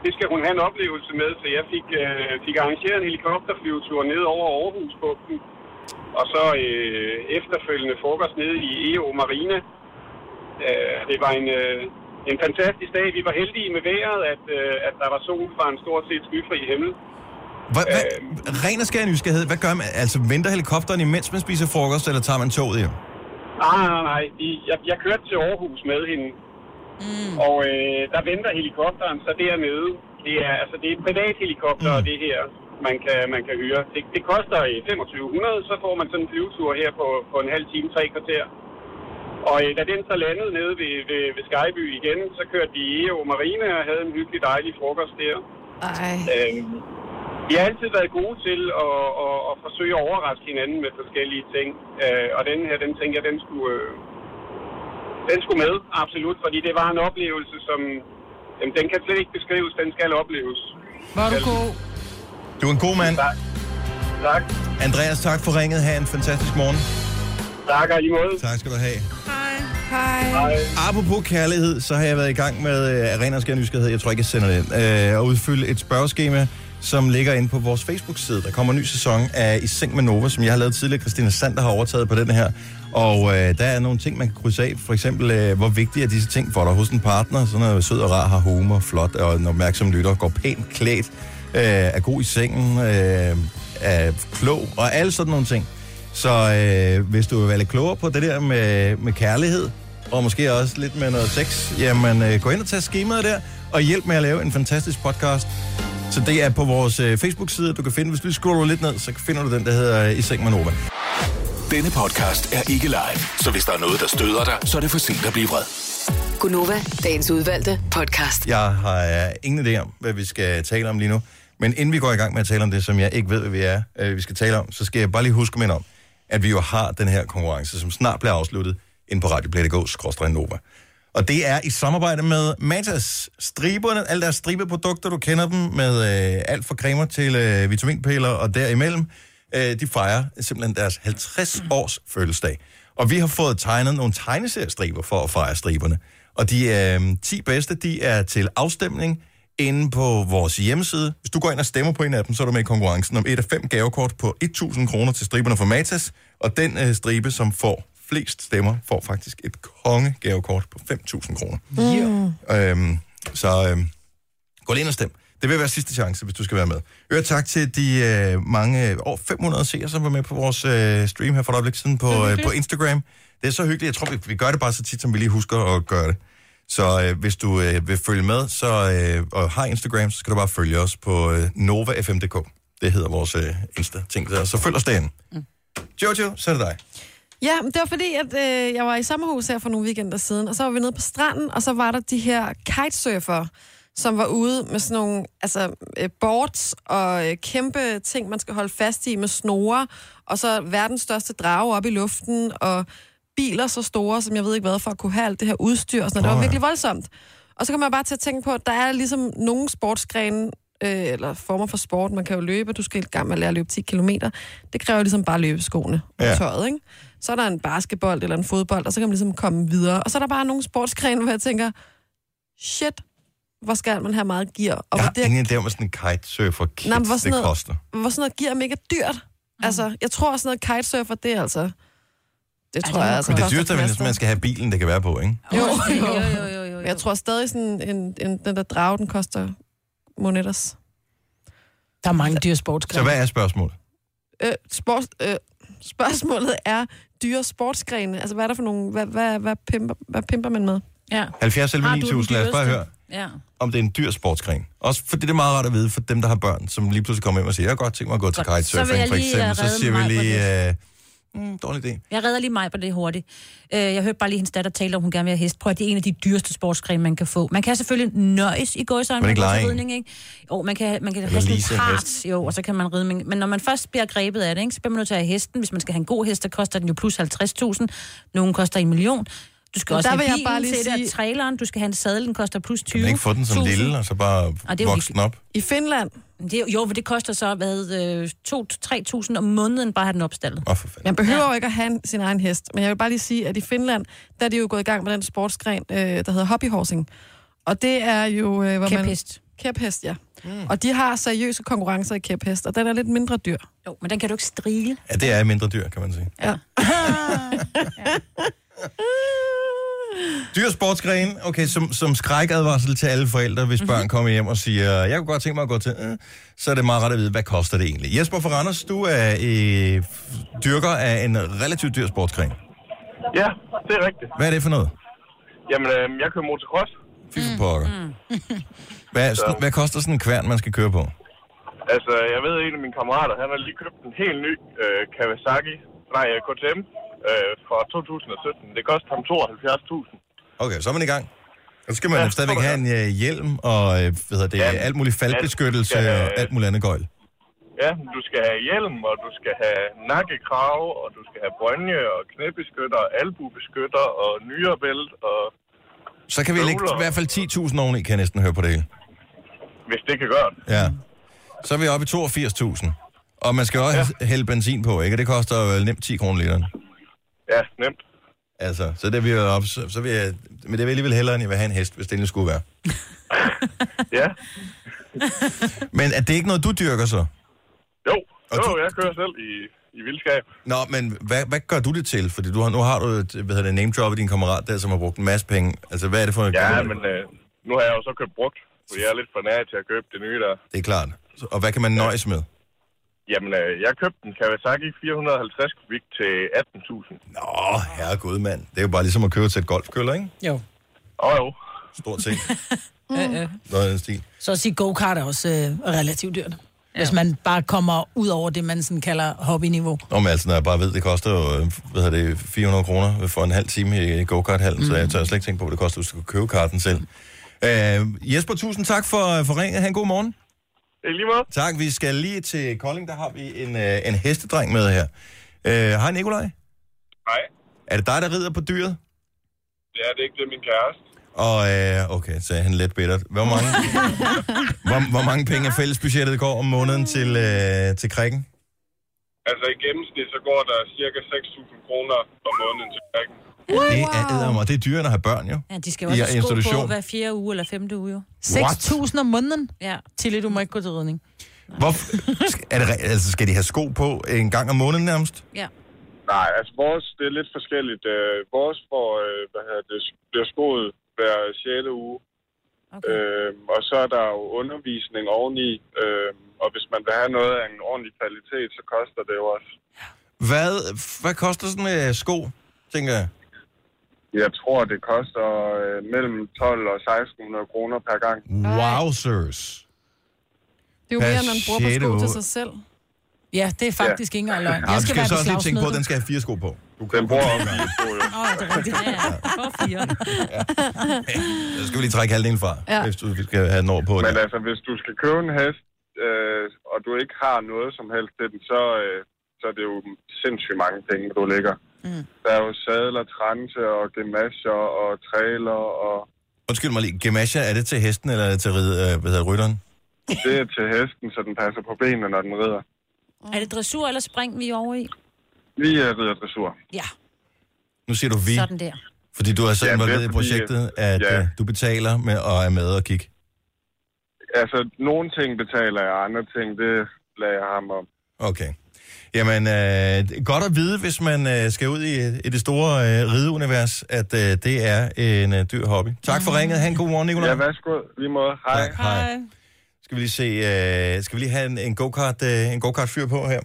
det skal hun have en oplevelse med, så jeg fik, øh, fik arrangeret en helikopterflyvetur ned over Aarhusbugten, og så øh, efterfølgende frokost nede i EO Marina. Øh, det var en, øh, en fantastisk dag. Vi var heldige med vejret, at, øh, at der var sol fra en stort set skyfri himmel. Hva, hva, Øhm. ren og skær nysgerrighed, hvad gør man? Altså, venter helikopteren imens man spiser frokost, eller tager man toget hjem? Nej, nej, nej. De, jeg, jeg kørte til Aarhus med hende. Mm. Og øh, der venter helikopteren så dernede. Det er, altså, det er privat helikopter, mm. det her, man kan, man kan hyre. Det, det koster øh, 2500, så får man sådan en flyvetur her på, på en halv time, tre kvarter. Og øh, da den så landede nede ved, ved, ved Skyby igen, så kørte de i EO Marine og havde en hyggelig dejlig frokost der. Ej. Øhm, vi har altid været gode til at, at, at forsøge at overraske hinanden med forskellige ting. Øh, og den her, den tænker jeg, den skulle, øh, den skulle med, absolut. Fordi det var en oplevelse, som jamen, den kan slet ikke beskrives, den skal opleves. Var du god? Du er en god mand. Tak. Andreas, tak for ringet. Ha' en fantastisk morgen. Tak, og i måde. Tak skal du have. Hej. Apropos kærlighed, så har jeg været i gang med øh, ren og skær nysgerrighed. Jeg tror ikke, jeg sender det ind. Øh, at udfylde et spørgeskema, som ligger inde på vores Facebook-side. Der kommer en ny sæson af I Seng med Nova, som jeg har lavet tidligere. Christina Sander har overtaget på den her. Og øh, der er nogle ting, man kan krydse af. For eksempel, øh, hvor vigtige er disse ting for dig hos en partner? Sådan noget sød og rar, har humor, flot og en opmærksom lytter, går pænt klædt, øh, er god i sengen, øh, er klog og alle sådan nogle ting. Så øh, hvis du vil være lidt klogere på det der med, med kærlighed, og måske også lidt med noget sex, jamen øh, gå ind og tag skemaet der, og hjælp med at lave en fantastisk podcast. Så det er på vores øh, Facebook-side, du kan finde. Hvis du lige scroller lidt ned, så finder du den, der hedder øh, I Seng med Nova. Denne podcast er ikke live, så hvis der er noget, der støder dig, så er det for sent at blive vred. Gunova, dagens udvalgte podcast. Jeg har øh, ingen idé om, hvad vi skal tale om lige nu. Men inden vi går i gang med at tale om det, som jeg ikke ved, hvad vi er, øh, vi skal tale om, så skal jeg bare lige huske mig om, at vi jo har den her konkurrence, som snart bliver afsluttet ind på radioplay.dk, Nova. Og det er i samarbejde med Matas. Striberne, alle deres stribeprodukter, du kender dem, med øh, alt fra cremer til øh, vitaminpiller og derimellem, øh, de fejrer simpelthen deres 50-års fødselsdag. Og vi har fået tegnet nogle tegneseriestriber for at fejre striberne. Og de øh, 10 bedste, de er til afstemning inde på vores hjemmeside. Hvis du går ind og stemmer på en af dem, så er du med i konkurrencen om et af fem gavekort på 1.000 kroner til striberne fra Matas. Og den øh, stribe, som får flest stemmer, får faktisk et kongegavekort på 5.000 kroner. Yeah. Øhm, så øhm, gå lige ind og stem. Det vil være sidste chance, hvis du skal være med. Øre tak til de øh, mange øh, over 500 seere, som var med på vores øh, stream her for et øjeblik siden på, øh, på Instagram. Det er så hyggeligt. Jeg tror, vi, vi gør det bare så tit, som vi lige husker at gøre det. Så øh, hvis du øh, vil følge med så, øh, og har Instagram, så skal du bare følge os på øh, novafm.dk. Det hedder vores øh, Insta-ting der. Så følg os derinde. Mm. Jojo, så er det dig. Ja, men det var fordi, at øh, jeg var i sommerhus her for nogle weekender siden, og så var vi nede på stranden, og så var der de her kitesurfer, som var ude med sådan nogle altså, øh, boards og øh, kæmpe ting, man skal holde fast i med snore, og så verdens største drage op i luften, og biler så store, som jeg ved ikke hvad, for at kunne have alt det her udstyr og sådan noget. Det var virkelig voldsomt. Og så kommer jeg bare til at tænke på, at der er ligesom nogle sportsgrene, øh, eller former for sport, man kan jo løbe, du skal i gang med at lære at løbe 10 km. Det kræver ligesom bare løbeskoene og Ja. tøjet, ikke? Så er der en basketball eller en fodbold, og så kan man ligesom komme videre. Og så er der bare nogle sportsgrene, hvor jeg tænker, shit, hvor skal man have meget gear? Og Jeg hvor har ingen idé om, hvad sådan en kitesurfer kit, Nej, men hvor det sådan noget- koster. hvor sådan noget gear er mega dyrt. Altså, jeg tror, sådan noget kitesurfer, det er altså... Det tror jeg altså Men det koster dyreste er vel, plads, hvis man skal have bilen, det kan være på, ikke? Jo, [LAUGHS] jo, jo, jo, jo, jo. Jeg tror stadig, sådan en, en, den der drage, den koster monetters. Der er mange dyre Så sportsgrene. hvad er spørgsmålet? Øh, sport, øh, spørgsmålet er dyre sportsgrene. Altså, hvad er der for nogle... Hvad, hvad, hvad, pimper, hvad pimper man med? Ja. 70 11 9000, lad os bare høre, Ja. om det er en dyr sportsgren. Også fordi det er meget rart at vide for dem, der har børn, som lige pludselig kommer hjem og siger, jeg har godt tænkt mig at gå til Godt. Så vil kitesurfing, jeg for lige, eksempel. øh, Så redde siger vi mig på lige, øh, mm, dårlig idé. Jeg redder lige mig på det hurtigt. Øh, Jeg hørte bare lige hendes datter tale om, hun gerne vil have hest. Prøv at det er en af de dyreste sportsgrene, man kan få. Man kan selvfølgelig nøjes i gåsøjne. Men ikke leje en. ikke? Jo, man kan, man kan Eller have sådan en lease en part, hest. jo, og så kan man ride. Men, men når man først bliver grebet af det, ikke, så bliver man nødt til at have hesten. Hvis man skal have en god hest, så koster den jo plus 50.000. Nogen koster en million. Du skal Men også der have vil jeg bilen bare lige til sige... det, sige- altså? og traileren. Du skal have en sadel, den koster plus 20. Kan man ikke få den som lille, og så bare Og det er jo vokse den op? I Finland? Det, er- jo, men det koster så, hvad, øh, 2-3.000 om måneden bare at have den opstallet. Åh, oh, for fanden. Man behøver jo ikke at have en- sin egen hest, men jeg vil bare lige sige, at i Finland, der er de jo gået i gang med den sportsgren, øh, der hedder hobbyhorsing. Og det er jo, øh, hvor man... Kæphest. Kæphest, ja. Mm. Og de har seriøse konkurrencer i kæphest, og den er lidt mindre dyr. Jo, men den kan du ikke strile. Ja, det er mindre dyr, kan man sige. [LAUGHS] Ja. Dyr sportsgren, okay, som, som skrækadvarsel til alle forældre, hvis Mhm. børn kommer hjem og siger, jeg kunne godt tænke mig at gå til, øh, så er det meget rart at vide, hvad koster det egentlig? Jesper for Randers, du er øh, dyrker af en relativt dyr sportsgren. Ja, det er rigtigt. Hvad er det for noget? Jamen, øh, jeg kører motocross. Fy for pokker. [LAUGHS] Hvad, sådan, hvad koster sådan en kværn, man skal køre på? Altså, jeg ved, en af mine kammerater, han har lige købt en helt ny øh, Kawasaki, nej, øh, KTM, øh, fra 2017. Det koster ham 72.000. Okay, så er man i gang. Og så skal man ja, stadigvæk have en øh, hjelm og øh, hvad hedder det, ja, alt muligt faldbeskyttelse ja, ja, ja, ja. og alt muligt andet gøjl. Ja, du skal have hjelm, og du skal have nakkekrave, og du skal have brønje, og knæbeskytter, og albubeskytter, og nyrebælt, og Så kan vi lægge i hvert fald 10.000 oveni, kan jeg næsten høre på det hele. hvis det kan gøre det. Ja. Så er vi oppe i 82.000. Og man skal også ja. hælde benzin på, ikke? Og det koster jo nemt 10 kroner literen. Ja, nemt. Altså, så det er vi jo op, så, så vil jeg, men det vil jeg alligevel hellere, end jeg vil have en hest, hvis det endelig skulle være. Ja. Men er det ikke noget, du dyrker så? Jo, jo jeg kører selv i, i vildskab. Nå, men hvad, hvad gør du det til? Fordi du har, nu har du et, hvad hedder det, name drop i din kammerat der, som har brugt en masse penge. Altså, hvad er det for et... Ja, men øh, nu har jeg jo så købt brugt, for jeg er lidt for nær til at købe det nye der. Det er klart. Så- Og hvad kan man nøjes med? Jamen, øh, jeg købte en Kawasaki 450 kubik til 18.000. Nå, herregud, mand. Det er jo bare ligesom at købe til et golfkøller, ikke? Jo. Åh, oh, jo. Stort set. Mm. Noget af den stil. Så at sige, go-kart er også øh, relativt dyrt. Ja. Hvis man bare kommer ud over det, man sådan kalder hobbyniveau. Nå, men altså, når jeg bare ved, det koster jo, øh, hvad hedder det, 400 kroner for en halv time i go-kart-hallen, mm. så jeg tør slet ikke tænke på, hvad det koster, hvis du skulle købe karten selv. Øh, Jesper, tusind tak for, øh, for ringet. Ha' en god morgen. I lige måde. Tak. Vi skal lige til Kolding, der har vi en, øh, en hestedreng med her. Øh, Hej, Nikolaj. Hej. Er det dig, der rider på dyret? Det er det ikke, det er min kæreste. Og øh, okay, sagde han let bittert. Hvor [LAUGHS] mange, hvor, hvor mange penge af fællesbudgettet går om måneden til, øh, til krikken? Altså, i gennemsnit, så går der cirka 6.000 kroner om måneden til krækken. Det er æder og det er dyrere, at have børn, jo. Ja, de skal jo I også have sko på institution. hver fjerde uge eller femte uge, jo. 6.000 om måneden? Ja. Tilly, du må ikke gå til ridning. Hvor, er det, re- altså, skal de have sko på en gang om måneden nærmest? Ja. Nej, altså vores, det er lidt forskelligt. Øh, vores får, øh, hvad hedder det, bliver skoet hver 6. uge. Okay. Øh, og så er der jo undervisning oveni. Øh, og hvis man vil have noget af en ordentlig kvalitet, så koster det jo også. Hvad, hvad koster sådan en øh, sko, tænker jeg? Jeg tror, det koster øh, mellem 12 og 1600 kroner per gang. Wowzers. Det er jo Per mere, end man bruger sjette på sko uge. til sig selv. Ja, det er faktisk ja. ikke engang løgn. Ja, du Jeg skal, skal skal være så på også lige tænke på, at slagsmål. den skal have fire sko på. Du kan [LAUGHS] bruge også Åh, oh, det er rigtigt. Ja, ja. For fire. Så skal vi lige trække halvdelen fra, Ja. ja. hvis du skal have den over på. Men det. altså, hvis du skal købe en hest, øh, og du ikke har noget som helst til den, så, øh, så er det jo sindssygt mange penge, du lægger. Mm. Der er jo sadler, transe og gemasser og trailer, og Undskyld mig lige, gemasha, er det til hesten, eller er det til rid, øh, hvad hedder, det, rytteren? det er til hesten, så den passer på benene, når den rider. Er det dressur eller spring, vi er over i? Vi er ridder dressur. Ja, Nu siger du vi, sådan der. fordi du er så Ja, det er involveret i fordi, øh, projektet, at ja. ja. du betaler med og er med og kigge. Altså, nogle ting betaler jeg, andre ting, det lader jeg ham om. Okay. Jamen, øh, godt at vide, hvis man øh, skal ud i, i det store øh, rideunivers, at øh, det er en øh, dyr hobby. Tak for ringet. Ha' en god morgen, Nicolaj. Ja, værsgo. Lige måde. Hej. Tak, hej. hej. Skal vi lige se, øh, skal vi lige have en, en go-kart, øh, en go-kart fyr på her?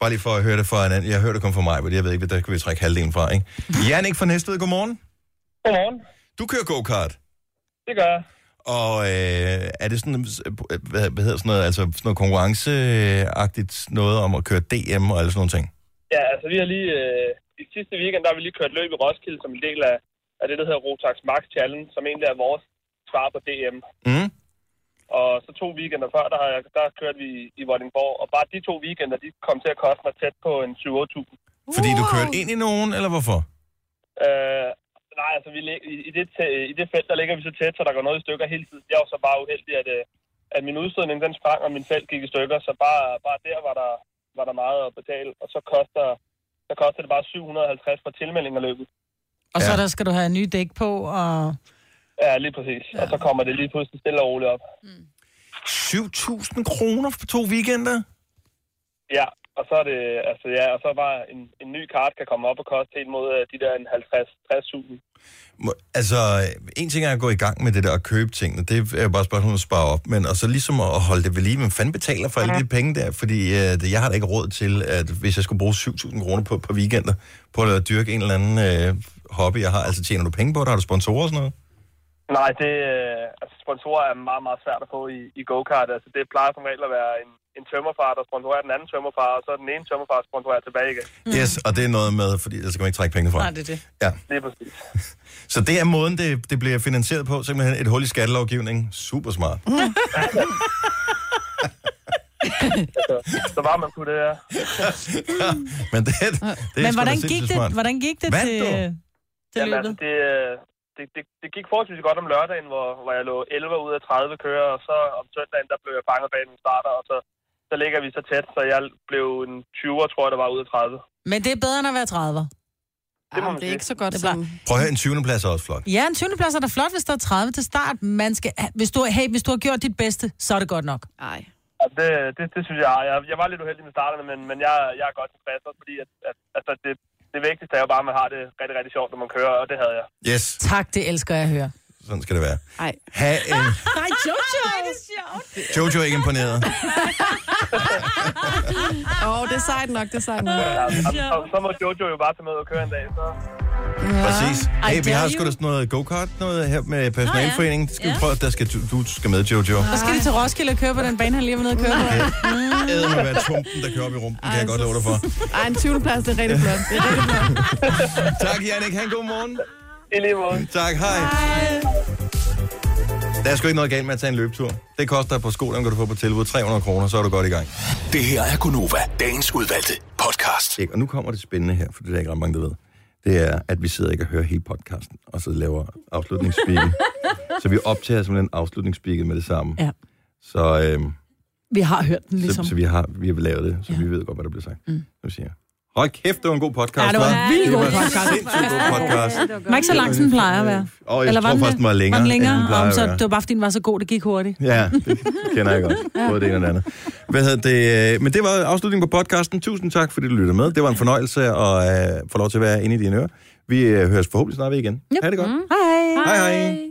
Bare lige for at høre det fra en anden. Jeg hørte det kun fra mig, men jeg ved ikke, der kan vi trække halvdelen fra, ikke? Jannik fra Næstved, godmorgen. Godmorgen. Du kører go-kart, Det gør jeg. og øh, er det sådan, øh, hvad, hvad hedder sådan noget, altså sådan noget konkurrenceagtigt noget om at køre DM og alle sådan nogle ting? Ja, altså vi har lige... Øh, I sidste weekend, der har vi lige kørt løb i Roskilde som en del af, af det, der hedder Rotax Max Challenge, som egentlig er vores svar på DM. Mm. Og så to weekender før, der, har jeg, der kørte vi i Vordingborg, og bare de to weekender, de kom til at koste mig tæt på en 7-8.000. Fordi du kørte ind i nogen, eller hvorfor? Øh, nej, altså vi, lig- i, i, det tæ- i det felt, der ligger vi så tæt, så der går noget i stykker hele tiden. Jeg var så bare uheldig, at, øh, at min udstødning, den sprang, og min felt gik i stykker, så bare, bare der var der, var der meget at betale. Og så koster, så koster det bare 750 for tilmelding af løbet. Og så der skal du have nye dæk på, og Ja, lige præcis. Ja. Og så kommer det lige pludselig stille og roligt op. 7.000 kroner for to weekender? Ja, og så er det, altså ja, og så bare en, en ny kart kan komme op og koste helt mod øh, de der en 50-60.000. Må- Altså, en ting er at gå i gang med det der at købe tingene. Det er jo bare et spørgsmål om at spare op. Men og så ligesom at holde det ved lige. Men fanden betaler for alle de penge der? Fordi øh, det, jeg har da ikke råd til, at hvis jeg skulle bruge 7.000 kroner på, på weekender, på at dyrke en eller anden øh, hobby, jeg har. Altså, tjener du penge på det? Har du sponsorer og sådan noget? Nej, det, øh, altså sponsorer er meget, meget svært at få i, i go-kart. Altså det plejer som regel at være en, en tømmerfar, der sponsorerer den anden tømmerfar, og så den ene tømmerfar sponsorerer tilbage igen. Mm. Yes, og det er noget med, fordi der skal man ikke trække penge fra. det er det. Ja. Lige præcis. [LAUGHS] Så det er måden, det, det bliver finansieret på. Simpelthen et hul i skattelovgivningen. Super smart. altså, så var man på det her. Men det, det er sgu da Men hvordan gik, sindssygt det, smart. hvordan gik det Vandt til, du? til Jamen, altså, løbet? det, øh, det, det, det gik forholdsvis godt om lørdagen, hvor, hvor jeg lå 11 ud af 30 kører, og så om søndagen, der blev jeg fanget bag min starter, og så, så ligger vi så tæt, så jeg blev en 20'er, tror jeg, der var ud af 30. Men det er bedre end at være 30. Det, må man det er ikke så godt. Det er bare, Prøv at høre, en 20. plads er også flot. ja, en 20. plads er da flot, hvis der er 30 til start. Man skal, hvis, du, hey, hvis du har gjort dit bedste, så er det godt nok. Nej. Det, det, det synes jeg, jeg. Jeg var lidt uheldig med starterne, men, men jeg, jeg er godt tilfreds, også fordi at, at, altså, det, det vigtigste er jo bare, at man har det rigtig, rigtig sjovt, når man kører, og det havde jeg. Yes, Tak, det elsker jeg at høre. sådan skal det være. Nej. Ha en... [LAUGHS] Nej, Jojo! det er Jojo er ikke imponeret. Åh, oh, det er sejt nok, det er sejt nok. Så, så må Jojo jo bare tage med og køre en dag, så... Ja. Præcis. Hey, vi dare har you. sgu da sådan noget go-kart noget her med personalforeningen. Det skal vi Ja. prøve, der skal du, du skal med, Jojo. Så skal de til Roskilde og køre på den bane, han lige var nede og køre på. Æder med at være tumpen, der kører op i rumpen, kan jeg godt love dig for. Ej, en 20. plads, det er rigtig flot. Det er rigtig flot. Tak, Jannik. Ha' en god morgen. I lige måde. Tak, hej. Der er sgu ikke noget galt med at tage en løbetur. Det koster på sko, den kan du få på tilbud. 300 kroner, så er du godt i gang. Det her er Gunova, dagens udvalgte podcast. Ikke? Og nu kommer det spændende her, for det er der ikke ret mange, der ved. Det er, at vi sidder ikke og hører hele podcasten, og så laver [LAUGHS] afslutningsspikken. så vi optager simpelthen afslutningsspikken med det samme. Ja. Så, øhm, Vi har hørt den ligesom. ligesom. så, så vi, har, vi har lavet det, så ja. vi ved godt, hvad der bliver sagt. Mm. Nu siger jeg. Hold kæft, det var en god podcast. Ja, det var en hva'? vildt Det god var en podcast. sindssygt god podcast. Den er ikke så lang, som den plejer at være. Åh, jeg tror faktisk, den var længere, Var den end den længere? plejer Om, at så være. det var bare, fordi den var så god, det gik hurtigt. Ja, det kender jeg godt. Både det ene og det andet. Hvad hedder det? øh, Men det var afslutningen på podcasten. Tusind tak, fordi du lyttede med. Det var en fornøjelse at øh, få lov til at være inde i dine ører. Vi øh, høres forhåbentlig snart ved igen. Yep. Ha' det godt. Hej. Hej hej.